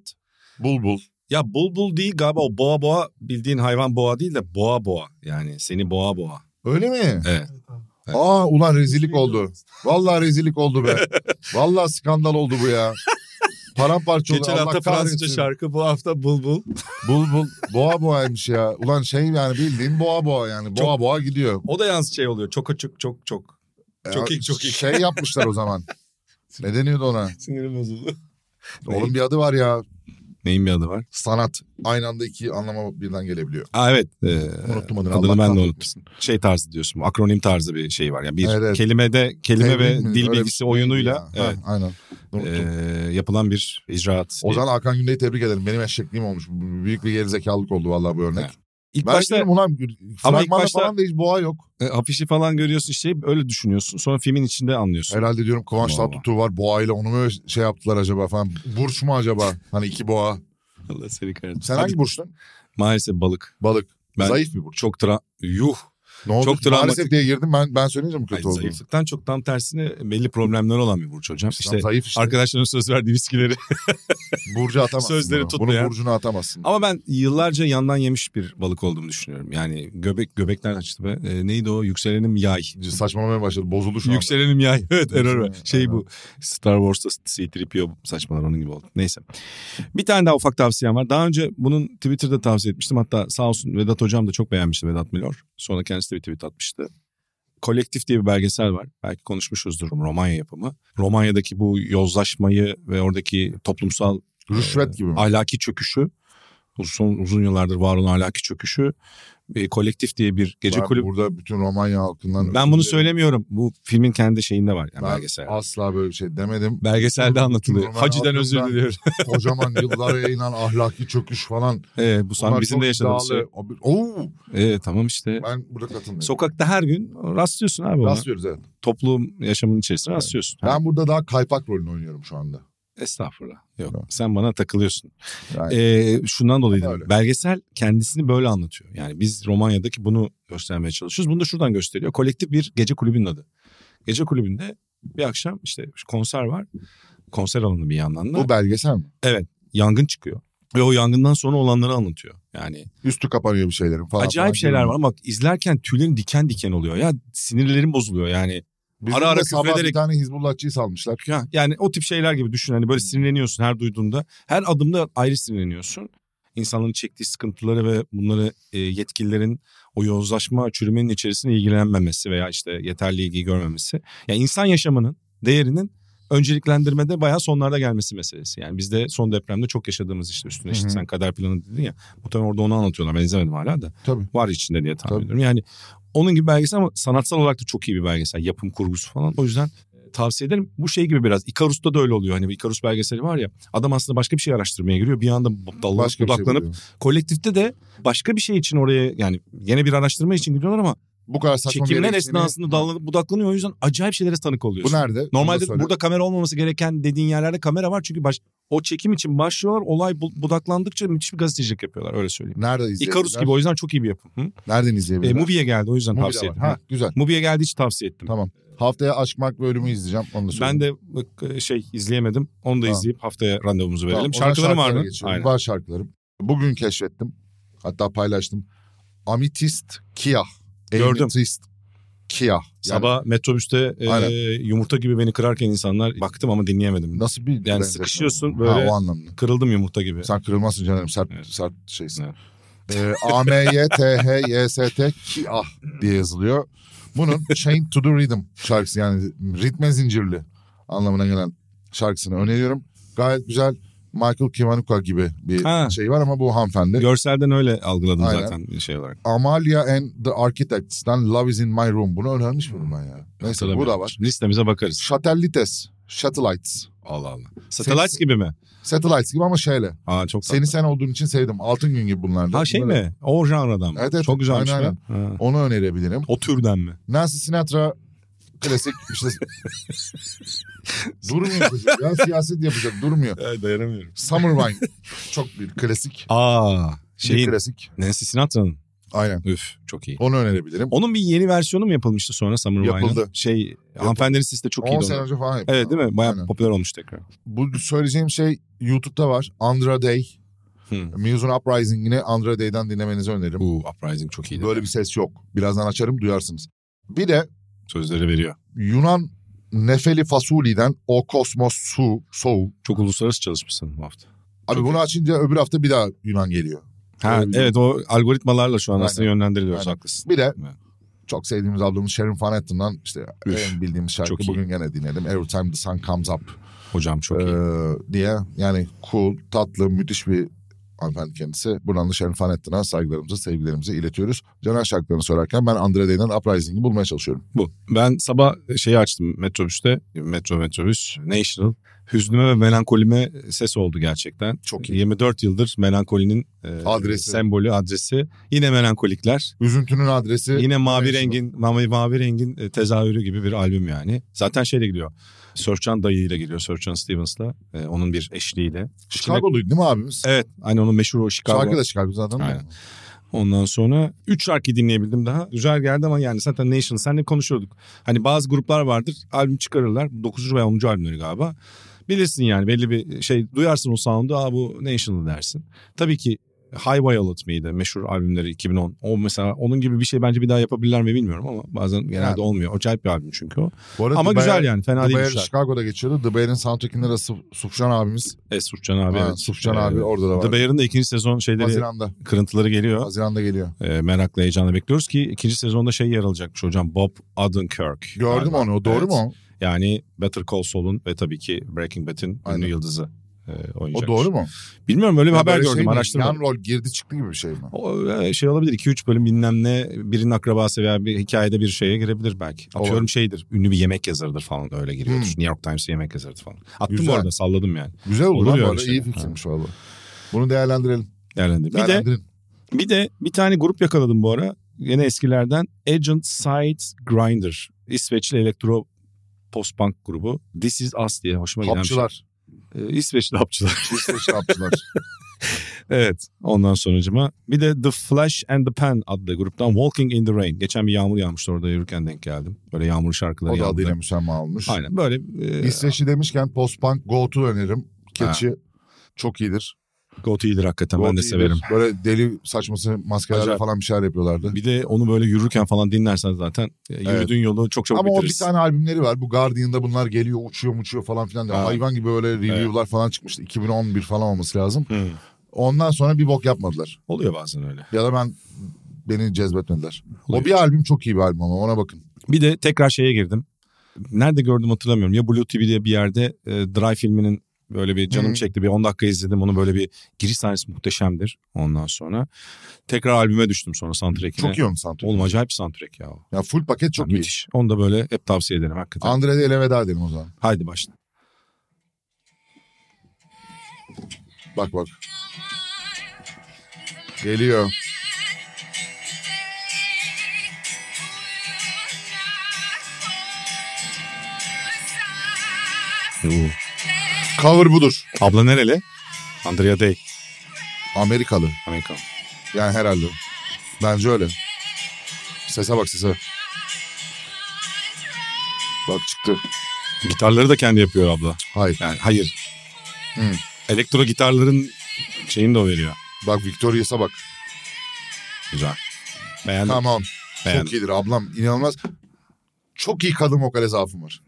S2: Bulbul.
S3: Ya bulbul değil galiba o boğa boğa bildiğin hayvan boğa değil de boğa boğa. Yani seni boğa boğa.
S2: Öyle mi?
S3: Evet. Evet.
S2: Aa ulan rezillik oldu. Vallahi rezillik oldu
S3: <laughs>
S2: be. Vallahi skandal oldu bu ya. Paramparça oldu.
S3: Geçen
S2: Allah
S3: hafta Fransızca
S2: kahretsin.
S3: şarkı bu hafta bulbul.
S2: Bul bul. Boğa boğaymış ya. Ulan şey yani bildiğin boğa boğa yani. Boğa boğa gidiyor.
S3: O da yalnız şey oluyor çok çok çok çok. Çok
S2: Ya,
S3: iyi, çok iyi.
S2: Şey yapmışlar o
S3: <laughs>
S2: zaman. ne deniyordu ona?
S3: Sinirim bozuldu.
S2: Onun bir adı var ya.
S3: Neyin bir adı var?
S2: Sanat. Aynı anda iki anlama birden gelebiliyor.
S3: Aa evet. Ee,
S2: Unuttum adını.
S3: adını
S2: Allah
S3: ben de
S2: kahretsin.
S3: unuttum. Şey tarzı diyorsun. Akronim tarzı bir şey var. Yani bir
S2: Evet, evet.
S3: kelimede kelime
S2: Tevhid
S3: ve
S2: mi?
S3: dil
S2: Öyle bir
S3: bilgisi
S2: şey
S3: oyunuyla
S2: Ya, ha,
S3: evet,
S2: Aynen. Unuttum.
S3: ee, yapılan bir icraat.
S2: o zaman Hakan Güney'i tebrik ederim. Benim eşekliğim olmuş. B- Büyük bir gerizekalılık oldu vallahi bu örnek.
S3: Evet. İlk
S2: ben
S3: başta
S2: diyorum ulan
S3: Ama
S2: Ama
S3: ilk
S2: fragmanda
S3: başta-
S2: falan da hiç boğa yok.
S3: e, afişi falan görüyorsun işte öyle düşünüyorsun. Sonra filmin içinde anlıyorsun.
S2: Herhalde diyorum Kıvanç
S3: Vallahi.
S2: Tatlıtuğ var boğa ile onu mu şey yaptılar acaba falan. Burç mu acaba? Hani iki boğa.
S3: Allah seni kahretsin.
S2: Sen
S3: Hadi.
S2: hangi burçtun?
S3: Maalesef balık.
S2: Balık.
S3: Ben-
S2: Zayıf bir burç.
S3: Çok tra... Yuh.
S2: Ne oldu?
S3: çok dramatik.
S2: Maalesef diye girdim ben ben söyleyince mi
S3: Ay,
S2: kötü oldu? Zayıf.
S3: zayıflıktan çok tam tersine belli problemler olan bir burç hocam. İşte
S2: zayıf işte.
S3: arkadaşların söz verdiği viskileri.
S2: <laughs> Burcu atamazsın.
S3: <laughs> Sözleri
S2: bunu.
S3: tutmayan.
S2: Bunu burcuna atamazsın.
S3: Ama ben yıllarca yandan yemiş bir balık olduğumu düşünüyorum. Yani göbek göbekler açtı be. Ee, neydi o? Yükselenim yay.
S2: Saçmalamaya başladı. Bozuldu şu anda.
S3: Yükselenim yay. <laughs> Evet error var. Şey
S2: Aynen.
S3: bu Star Wars'ta C-3PO saçmalar onun gibi oldu. Neyse. Bir tane daha ufak tavsiyem var. Daha önce bunun Twitter'da tavsiye etmiştim. Hatta sağ olsun Vedat hocam da çok beğenmişti Vedat Milor. Sonra kendisi de bir tweet atmıştı. Kolektif diye bir belgesel var. Belki konuşmuşuzdur Romanya yapımı. Romanya'daki bu yozlaşmayı ve oradaki toplumsal
S2: Rüşvet gibi mi?
S3: ahlaki çöküşü uzun, uzun yıllardır var olan ahlaki çöküşü e, kolektif diye bir gece
S2: Ben
S3: kulüp.
S2: Burada bütün Romanya halkından...
S3: Ben bunu söylemiyorum. Bu filmin kendi şeyinde var yani
S2: Ben
S3: belgesel.
S2: asla böyle bir şey
S3: <laughs>
S2: demedim.
S3: Belgeselde anlatılıyor.
S2: Roman
S3: Hacı'dan
S2: halkından-
S3: özür
S2: <laughs>
S3: diliyorum.
S2: Kocaman yıllara yayılan ahlaki çöküş falan.
S3: Ee, bu san
S2: Bunlar
S3: bizim
S2: çok
S3: de yaşadığımız şey.
S2: iddialı. Abi, Oo,
S3: Ee, tamam işte.
S2: ben burada katılmıyorum.
S3: Sokakta her gün rastlıyorsun abi ona.
S2: Rastlıyoruz evet.
S3: Toplum yaşamının içerisinde rastlıyorsun.
S2: Ben burada daha kaypak rolünü oynuyorum şu anda.
S3: Estağfurullah. Yok
S2: Yok.
S3: sen bana takılıyorsun.
S2: Yani-
S3: Ee, şundan dolayı dedim.
S2: Öyle.
S3: Belgesel kendisini böyle anlatıyor. Yani biz Romanya'daki bunu göstermeye çalışıyoruz. Bunu da şuradan gösteriyor. Kolektif bir gece kulübünün adı. Gece kulübünde bir akşam işte konser var. Konser alanı bir yandan da.
S2: Bu belgesel mi?
S3: Yangın çıkıyor. Ve o yangından sonra olanları anlatıyor. Yani
S2: Üstü kapanıyor bir şeylerin falan. falan.
S3: acayip şeyler var. Bak izlerken tüylerim diken diken oluyor. Ya sinirlerim bozuluyor yani.
S2: Bizim
S3: Ara
S2: de
S3: ara
S2: sabah
S3: küfrederek-
S2: bir tane Hizbullahçıyı salmışlar.
S3: Ya, yani o tip şeyler gibi düşün. Hani böyle sinirleniyorsun her duyduğunda. Her adımda ayrı sinirleniyorsun. İnsanların çektiği sıkıntıları ve bunları e, yetkililerin o yozlaşma çürümenin içerisinde ilgilenmemesi veya işte yeterli ilgi görmemesi. Yani insan yaşamının değerinin önceliklendirmede bayağı sonlarda gelmesi meselesi. Yani bizde son depremde çok yaşadığımız işte üstüne işte
S2: Hı hı.
S3: sen kader planı dedin ya. Muhtemelen orada onu anlatıyorlar. Ben izlemedim hala da.
S2: Tabii.
S3: Var içinde diye tahmin
S2: Tabii.
S3: ediyorum. Yani onun gibi belgesel ama sanatsal olarak da çok iyi bir belgesel. Yapım kurgusu falan. O yüzden e, tavsiye ederim. Bu şey gibi biraz. Icarus'ta da öyle oluyor. Hani Icarus belgeseli var ya. Adam aslında başka bir şey araştırmaya giriyor. Bir anda dallanıp
S2: Başka bir şey
S3: budaklanıp.
S2: biliyorum.
S3: kolektifte de başka bir şey için oraya yani yine bir araştırma için gidiyorlar ama
S2: Bu kadar saçma bir
S3: çekimler
S2: yere
S3: esnasında dallanıp budaklanıyor. O yüzden acayip şeylere tanık
S2: Bu
S3: oluyorsun.
S2: nerede? Bunu da
S3: Normalde
S2: söyle.
S3: burada kamera olmaması gereken dediğin yerlerde kamera var. Çünkü baş, o çekim için başlıyorlar. Olay bu- budaklandıkça müthiş bir gazetecilik yapıyorlar. Öyle söyleyeyim.
S2: Nerede izleyebilirler?
S3: Icarus gibi o yüzden çok iyi bir yapım. Hı?
S2: Nereden
S3: E,
S2: izleyebilirler?
S3: Mubi'ye geldi o yüzden
S2: Movie'de
S3: tavsiye
S2: var.
S3: ettim.
S2: Ha, güzel.
S3: Mubi'ye geldiği için tavsiye ettim.
S2: Tamam. Haftaya Aşk, Mark ve Ölüm'ü izleyeceğim. Onu da
S3: Ben
S2: söyleyeyim.
S3: de e, şey izleyemedim. Onu da
S2: Tamam.
S3: izleyip haftaya randevumuzu verelim.
S2: Tamam, o zaman
S3: Şarkılarım var
S2: şarkılara
S3: mı?
S2: geçiyorum.
S3: Aynen.
S2: Var şarkılarım. Bugün keşfettim. Hatta paylaştım. Ametist Kiyah.
S3: Gördüm.
S2: Ametist Kiyah. Yani
S3: Sabah metrobüste e,
S2: Aynen.
S3: yumurta gibi beni kırarken insanlar baktım ama dinleyemedim.
S2: Nasıl bir benzetme
S3: sıkışıyorsun
S2: bu?
S3: böyle-
S2: Ha, o anlamda.
S3: Kırıldım yumurta gibi.
S2: Sen kırılmazsın canım sert
S3: Evet.
S2: sert şeysin.
S3: Evet.
S2: Ee, A M Y T H Y S T K A diye yazılıyor. Bunun Chain to the Rhythm şarkısı yani ritme zincirli anlamına gelen şarkısını öneriyorum. Gayet güzel Michael Kiwanuka gibi bir
S3: Ha.
S2: şey var ama bu hanımefendi.
S3: Görselden öyle algıladım
S2: Aynen.
S3: zaten şey olarak.
S2: Amalia and the Architects'ten Love is in my room. Bunu önermiş miydim ben ya? Neyse bu
S3: Hatırlamıyorum.
S2: da var.
S3: Listemize bakarız.
S2: Satellites, Satellites.
S3: Allah Allah. Satellites gibi mi?
S2: Satellites gibi ama şeyle.
S3: Aa çok
S2: Seni
S3: tatlı.
S2: sen olduğun için sevdim. Altın gün gibi bunlar. da.
S3: Ha şey
S2: Bunları-
S3: mi? O janradan mı?
S2: Evet, evet.
S3: Çok güzelmiş
S2: Aynen,
S3: be. Ha.
S2: Onu önerebilirim.
S3: O türden mi?
S2: Nancy Sinatra klasik işte durmuyor çocuk ya siyaset yapacak durmuyor.
S3: dayanamıyorum.
S2: Summer Wine çok bir klasik.
S3: Aa
S2: Şey
S3: şeyin
S2: klasik.
S3: Nancy Sinatra'nın.
S2: Aynen.
S3: Üf çok iyi.
S2: Onu önerebilirim.
S3: Onun bir yeni versiyonu mu yapılmıştı sonra Summer Wine'ın?
S2: Yapıldı.
S3: Şey hanımefendinin sesi de çok
S2: 10
S3: iyiydi.
S2: sene
S3: onun.
S2: önce falan yaptım.
S3: Evet değil mi? Bayağı
S2: Aynen.
S3: popüler olmuş tekrar.
S2: Bu söyleyeceğim şey YouTube'da var. Andra Day.
S3: Hı.
S2: Muse'un Uprising'ini Andra Day'den dinlemenizi öneririm.
S3: Bu Uprising çok iyiydi.
S2: Böyle bir ses yok. Birazdan açarım duyarsınız. Bir de
S3: Sözleri veriyor.
S2: Yunan Nefeli Fasuli'den O Kosmos Su, Sou.
S3: Çok uluslararası çalışmışsın bu hafta.
S2: Abi
S3: Çok
S2: bunu açınca öbür hafta bir daha Yunan geliyor.
S3: Ha,
S2: Öyle bir-
S3: evet o algoritmalarla şu an aslında
S2: Aynen.
S3: yönlendiriliyoruz
S2: Aynen.
S3: haklısın.
S2: Bir de
S3: Evet.
S2: çok sevdiğimiz ablamız Sharon Van Etten'dan işte
S3: Üf,
S2: en bildiğimiz şarkı
S3: çok iyi.
S2: bugün gene dinledim. Every Time The Sun Comes Up
S3: Hocam çok iyi.
S2: ee, diye yani cool, tatlı, müthiş bir hanımefendi kendisi. Buradan da Sharon Van Etten'a saygılarımızı, sevgilerimizi iletiyoruz. Caner şarkılarını sorarken ben Andre Day'den Uprising'i bulmaya çalışıyorum.
S3: Bu. Ben sabah şeyi açtım metrobüste. Metro metrobüs National. Hüznüme ve melankolime ses oldu gerçekten.
S2: Çok
S3: 24 yıldır melankolinin e,
S2: Adresi.
S3: sembolü, adresi. Yine melankolikler.
S2: Üzüntünün adresi
S3: Yine mavi
S2: National.
S3: rengin mavi, mavi rengin e, tezahürü gibi bir albüm yani. Zaten şeyle gidiyor. Sörçan dayıyla gidiyor. Sörçan Stevens'la. e, onun bir eşliğiyle.
S2: Chicago'luydu değil mi abimiz?
S3: Evet. Aynı onun meşhur o Chicago.
S2: Şarkı da Chicago zaten. değil mi?
S3: Aynen. Ondan sonra 3 şarkı dinleyebildim daha. Güzel geldi ama yani zaten Nation senle konuşuyorduk. Hani bazı gruplar vardır albüm çıkarırlar. 9. veya 10. albümleri galiba. Bilirsin yani belli bir şey duyarsın o sound'u. Aa bu National dersin. Tabii ki High Violet miydi meşhur albümleri 2010. O mesela onun gibi bir şey bence bir daha yapabilirler mi bilmiyorum ama bazen genelde
S2: Yani.
S3: olmuyor. Acayip bir albüm çünkü o.
S2: Bu arada
S3: ama
S2: The Bear-
S3: güzel yani fena
S2: The
S3: değil
S2: Bear
S3: güzel.
S2: Chicago'da geçiyordu. The Bear'in soundtrack'inde de Suf- Sufjan abimiz.
S3: E, Sufcan abi
S2: Ha,
S3: evet.
S2: Sufjan
S3: Ee,
S2: abi orada da
S3: The
S2: var.
S3: Bear'ın da ikinci sezon şeyleri
S2: Haziran'da.
S3: kırıntıları geliyor.
S2: Haziran'da geliyor.
S3: Ee, merakla heyecanla bekliyoruz ki ikinci sezonda şey yer alacakmış hocam Bob Odenkirk.
S2: Gördüm
S3: Galiba.
S2: onu. o Doğru
S3: Evet.
S2: mu? o?
S3: Yani Better Call Saul'un ve tabii ki Breaking Bad'in
S2: Aynen.
S3: ünlü yıldızı e, oynayacakmış.
S2: O doğru mu?
S3: Bilmiyorum öyle şey. bir
S2: Ya
S3: haber
S2: böyle
S3: gördüm
S2: şey mi?
S3: araştırmadım.
S2: Yan rol girdi çıktı gibi bir şey mi?
S3: O, e, şey olabilir 2-3 bölüm bilmem ne birinin akrabası veya bir hikayede bir şeye girebilir belki. Atıyorum
S2: Olabilir.
S3: şeydir ünlü bir yemek yazarıdır falan öyle giriyordur.
S2: Hmm.
S3: New York Times'e yemek yazarı falan. Attım
S2: Güzel.
S3: orada salladım yani.
S2: Güzel olur,
S3: Olur
S2: lan bu
S3: ya
S2: arada.
S3: öyle
S2: İyi
S3: şey.
S2: fikirmiş valla. Bunu değerlendirelim.
S3: Değerlendir. Bir de
S2: Değerlendirin.
S3: bir de bir tane grup yakaladım bu ara. Yine eskilerden Agent Side Grinder. İsveçli elektro post punk grubu. This is Us diye hoşuma giden bir şey.
S2: Hapçılar. şey
S3: Ee, İsveçli hapçılar. <laughs>
S2: İsveçli hapçılar.
S3: Evet. Ondan sonucuma. Bir de The Flash and the Pen adlı gruptan Walking in the Rain. Geçen bir yağmur yağmıştı orada yürürken denk geldim. Böyle yağmur şarkıları
S2: O da
S3: yağmurda.
S2: adıyla müsemma olmuş.
S3: Aynen böyle. E,
S2: İsveçli demişken post-punk Goat'u önerim. Keçi çok iyidir.
S3: Goat iyidir hakikaten
S2: Goat
S3: ben de
S2: iyidir.
S3: severim.
S2: Böyle deli saçması maskelerle
S3: Acayip.
S2: falan bir şeyler yapıyorlardı.
S3: Bir de onu böyle yürürken falan dinlersen zaten e, yürüdüğün yolu çok çabuk
S2: Ama o bir
S3: bitirirsin.
S2: tane albümleri var. Bu Guardian'da bunlar geliyor uçuyor uçuyor falan filan. diye.
S3: Ha.
S2: Hayvan gibi böyle review'lar falan çıkmıştı. 2011 falan olması lazım.
S3: Hı.
S2: Ondan sonra bir bok yapmadılar.
S3: Oluyor bazen öyle.
S2: Ya da ben beni cezbetmediler.
S3: Oluyor.
S2: O bir albüm çok iyi bir albüm ama ona bakın.
S3: Bir de tekrar şeye girdim. Nerede gördüm hatırlamıyorum. Ya Blue TV'de bir yerde e, Dry filminin böyle bir canım
S2: Hı.
S3: çekti. Bir 10 dakika izledim. Onu böyle bir giriş sahnesi muhteşemdir. Ondan sonra tekrar albüme düştüm sonra soundtrack'ine.
S2: Çok iyi onun soundtrack.
S3: Oğlum acayip bir soundtrack ya. o.
S2: Ya full paket çok
S3: Yani
S2: iyi.
S3: müthiş. Onu da böyle hep tavsiye ederim hakikaten.
S2: Andre'de ele veda edelim o zaman.
S3: Haydi başla.
S2: Bak bak. Geliyor. Cover budur.
S3: Abla nereli? Andrea Day.
S2: Amerikalı.
S3: Amerikan.
S2: Yani herhalde. Bence öyle. Sese bak sese. Bak çıktı.
S3: Gitarları da kendi yapıyor abla.
S2: Hayır.
S3: Yani hayır.
S2: Hı.
S3: Elektro gitarların şeyini de o veriyor.
S2: Bak Victorious'a bak.
S3: Güzel. Beğendim.
S2: Come on.
S3: Hani Beğendim.
S2: Çok iyidir ablam. inanılmaz. Çok iyi kadın vokal zaafım var.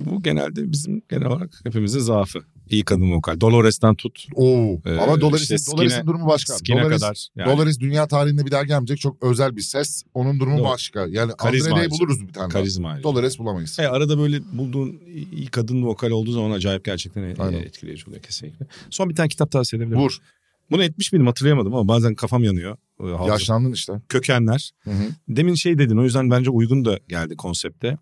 S3: Bu genelde bizim genel olarak hepimizin zaafı. İyi kadın vokal. Dolores'ten tut.
S2: Oo.
S3: Ee,
S2: Ama Dolaris'in,
S3: işte
S2: Dolaris'in
S3: Skin'e-
S2: durumu başka.
S3: Skin'e
S2: Dolaris,
S3: kadar. Yani.
S2: Dolaris dünya tarihinde bir daha gelmeyecek çok özel bir ses. Onun durumu
S3: Doğru.
S2: başka. Yani
S3: Karizma
S2: Andre'yi
S3: ayrıca.
S2: buluruz bir tane. daha.
S3: Karizma. ayrıca.
S2: Dolaris bulamayız.
S3: E, arada böyle bulduğun iyi kadın vokal olduğu zaman acayip gerçekten e,
S2: Aynen.
S3: etkileyici oluyor kesinlikle. Son bir tane kitap tavsiye edebilirim.
S2: Vur.
S3: Bunu etmiş miydim hatırlayamadım ama bazen kafam yanıyor. Ee, hafıza-
S2: Yaşlandın işte.
S3: Kökenler.
S2: Hı hı.
S3: Demin şey dedin o yüzden bence uygun da geldi konsepte.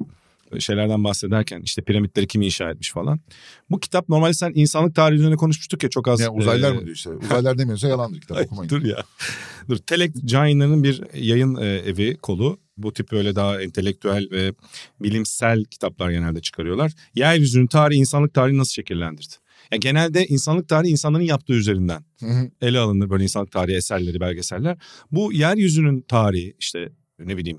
S3: Ee, Şeylerden bahsederken işte piramitleri kim inşa etmiş falan. Bu kitap normalde sen insanlık tarihi üzerine konuşmuştuk ya çok az.
S2: Yani uzaylılar
S3: e,
S2: mı diyor işte. Uzaylılar demiyorsa yalandır kitap
S3: Ay,
S2: okumayın.
S3: dur ya. Dur. Telek Giant'ın bir yayın e, evi kolu. Bu tip böyle daha entelektüel ve bilimsel kitaplar genelde çıkarıyorlar. Yeryüzünün tarihi insanlık tarihi nasıl şekillendirdi? Ya genelde insanlık tarihi insanların yaptığı üzerinden
S2: Hı hı.
S3: ele alınır böyle insanlık tarihi eserleri, belgeseller. Bu yeryüzünün tarihi işte ne bileyim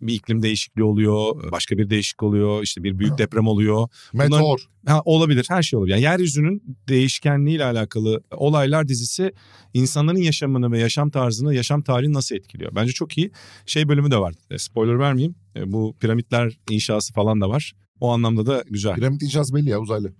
S3: bir iklim değişikliği oluyor, başka bir değişik oluyor, işte bir büyük deprem oluyor.
S2: Meteor.
S3: Ha, olabilir her şey olabilir. Yani yeryüzünün değişkenliğiyle alakalı olaylar dizisi insanların yaşamını ve yaşam tarzını, yaşam tarihini nasıl etkiliyor? Bence çok iyi. Şey bölümü de var. E, Spoiler vermeyeyim. E, Bu piramitler inşası falan da var. O anlamda da güzel.
S2: Piramit icaz belli ya uzaylı.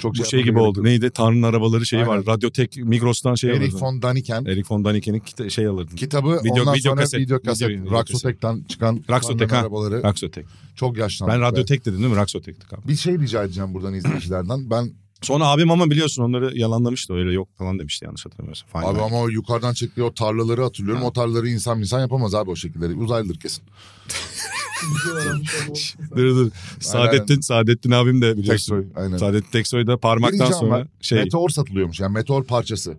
S2: Çok
S3: Bu şey
S2: yapmaya
S3: gibi
S2: gerek
S3: oldu.
S2: yok.
S3: Neydi? Tanrı'nın arabaları şeyi
S2: Aynen.
S3: var. Radyotek Migros'tan şey
S2: Erich
S3: alırdın.
S2: von Daniken.
S3: Eric von Daniken'in kita- şey alırdın.
S2: Kitabı
S3: Video-
S2: ondan
S3: video
S2: sonra
S3: kaset.
S2: video
S3: Video-
S2: kaset.
S3: video
S2: Raksotec'ten çıkan
S3: Raksotec,
S2: Tanrı'nın
S3: ha.
S2: arabaları.
S3: Raksotek.
S2: Çok yaşlandık.
S3: Ben
S2: be.
S3: Radyotek dedim değil mi? Raksotek'ti galiba.
S2: Bir şey rica edeceğim buradan izleyicilerden.
S3: <clears throat>
S2: Ben
S3: Sonra abim ama biliyorsun onları yalanlamıştı. Öyle yok falan demişti yanlış hatırlamıyorsam. Fine
S2: abi
S3: Line.
S2: ama o yukarıdan çektiği o tarlaları hatırlıyorum.
S3: Ha.
S2: O tarlaları insan insan yapamaz abi o şekilde. Uzaylıdır kesin.
S3: Dur dur. Saadettin, Saadettin abim de biliyorsun.
S2: Teksoy. Aynen.
S3: Saadettin Teksoy da parmaktan
S2: Gireceğim
S3: sonra
S2: ben.
S3: şey
S2: Meteor satılıyormuş yani meteor parçası.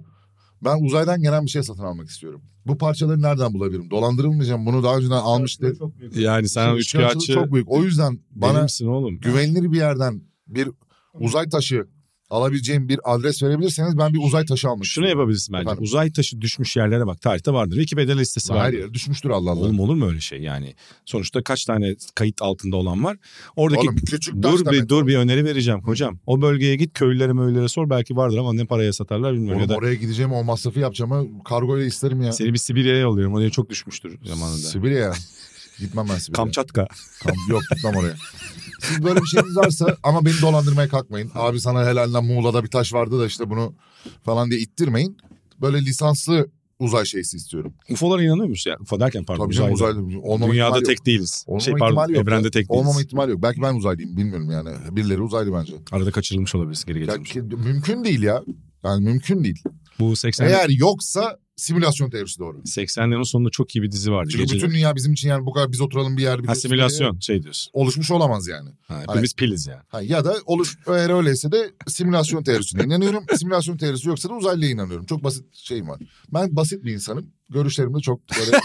S2: Ben uzaydan gelen bir şey satın almak istiyorum. Bu parçaları nereden bulabilirim? Dolandırılmayacağım. Bunu daha önceden almış de.
S3: yani sen
S2: Şimdi çıkartısı
S3: üçkağıtçı
S2: Çok büyük. O yüzden bana
S3: benimsin oğlum.
S2: güvenilir bir yerden bir uzay taşı alabileceğim bir adres verebilirseniz ben bir uzay taşı almıştım.
S3: Şunu yapabilirsin bence.
S2: Efendim?
S3: Uzay taşı düşmüş yerlere bak. Tarihte vardır. Wikipedia listesi
S2: Her
S3: var.
S2: yere düşmüştür Allah Allah.
S3: Oğlum olur mu öyle şey yani? Sonuçta kaç tane kayıt altında olan var? Oradaki
S2: Oğlum küçük taş
S3: dur bir
S2: demek.
S3: dur bir öneri vereceğim hocam. O bölgeye git köylülere möylülere sor belki vardır ama ne paraya satarlar bilmiyorum.
S2: Oğlum
S3: ya da
S2: oraya gideceğim o masrafı yapacağım ama kargoyla isterim ya.
S3: seni bir Sibirya'ya yolluyorum. Oraya çok düşmüştür zamanında.
S2: Sibirya. <laughs> Gitmem ben Sibirya.
S3: Kamçatka.
S2: Kam- Yok gitmem oraya. Siz böyle bir şeyiniz varsa ama beni dolandırmaya kalkmayın. Abi sana helalinden Muğla'da bir taş vardı da işte bunu falan diye ittirmeyin. Böyle lisanslı uzay şeysi istiyorum.
S3: UFO'lara inanıyor musun? Yani UFO derken pardon.
S2: Tabii canım
S3: uzaylı.
S2: uzaylı. Olmama
S3: Dünyada
S2: ihtimali
S3: tek
S2: yok.
S3: değiliz.
S2: Olmama
S3: şey pardon
S2: ihtimali yok.
S3: evrende tek değiliz.
S2: Olmama ihtimali yok. Belki ben uzaylıyım bilmiyorum yani. Birileri uzaylı bence.
S3: Arada kaçırılmış olabilirsin geri
S2: Ya,
S3: getirmiş.
S2: ki- mümkün değil ya. Yani mümkün değil.
S3: Bu 80
S2: Eğer yoksa simülasyon teorisi doğru.
S3: 80'lerin sonunda çok iyi bir dizi vardı.
S2: Çünkü
S3: Gece-
S2: bütün dünya bizim için yani bu kadar biz oturalım bir yer. Bir
S3: Ha, simülasyon şey diyorsun.
S2: Oluşmuş olamaz yani.
S3: Ha, hepimiz
S2: <laughs>
S3: piliz yani.
S2: Ha, ya da oluş eğer öyleyse de simülasyon teorisine inanıyorum. simülasyon teorisi yoksa da uzaylıya inanıyorum. Çok basit şeyim var. Ben basit bir insanım. Görüşlerim de çok böyle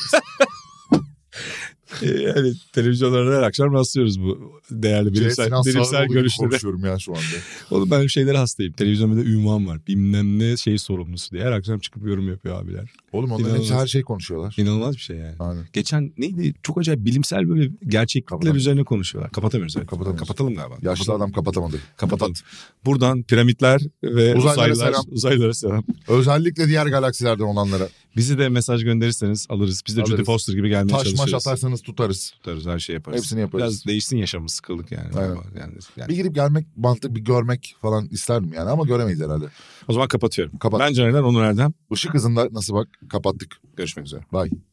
S2: E,
S3: Yani televizyonlarda her akşam rastlıyoruz bu değerli <laughs> bilimsel,
S2: Sinan Sağlıoğlu
S3: bilimsel
S2: gibi
S3: görüşlere.
S2: şey, konuşuyorum ya şu anda.
S3: <laughs> Oğlum ben şeylere hastayım. Televizyonda bir de ünvan var. Bilmem ne şey sorumlusu diye. Her akşam çıkıp yorum yapıyor abiler.
S2: Oğlum onların
S3: İnanılmaz.
S2: hepsi her şey konuşuyorlar.
S3: İnanılmaz bir şey yani.
S2: Aynen.
S3: Geçen neydi? Çok acayip bilimsel böyle gerçeklikler
S2: Kapatamıyoruz.
S3: üzerine konuşuyorlar. Kapatamıyoruz. Evet.
S2: Kapatamıyoruz.
S3: Kapatalım galiba.
S2: Yaşlı adam kapatamadı.
S3: Kapatalım. Buradan piramitler ve
S2: Uzaylılara
S3: uzaylılar,
S2: selam.
S3: uzaylılara selam.
S2: Özellikle diğer galaksilerden olanlara.
S3: Bizi de mesaj gönderirseniz alırız. Biz de
S2: Alırız.
S3: Judy Foster gibi gelmeye
S2: Taş maş
S3: çalışırız.
S2: atarsanız tutarız.
S3: Tutarız, her şey yaparız.
S2: Hepsini yaparız.
S3: Biraz değişsin yaşamı sıkıldık yani.
S2: Aynen.
S3: Yani, yani-
S2: Bir girip gelmek, mantık bir görmek falan isterdim yani ama göremeyiz herhalde.
S3: O zaman kapatıyorum.
S2: Kapat.
S3: Ben Caner Onur Erdem.
S2: Işık hızında nasıl bak kapattık.
S3: Görüşmek üzere.
S2: Bye.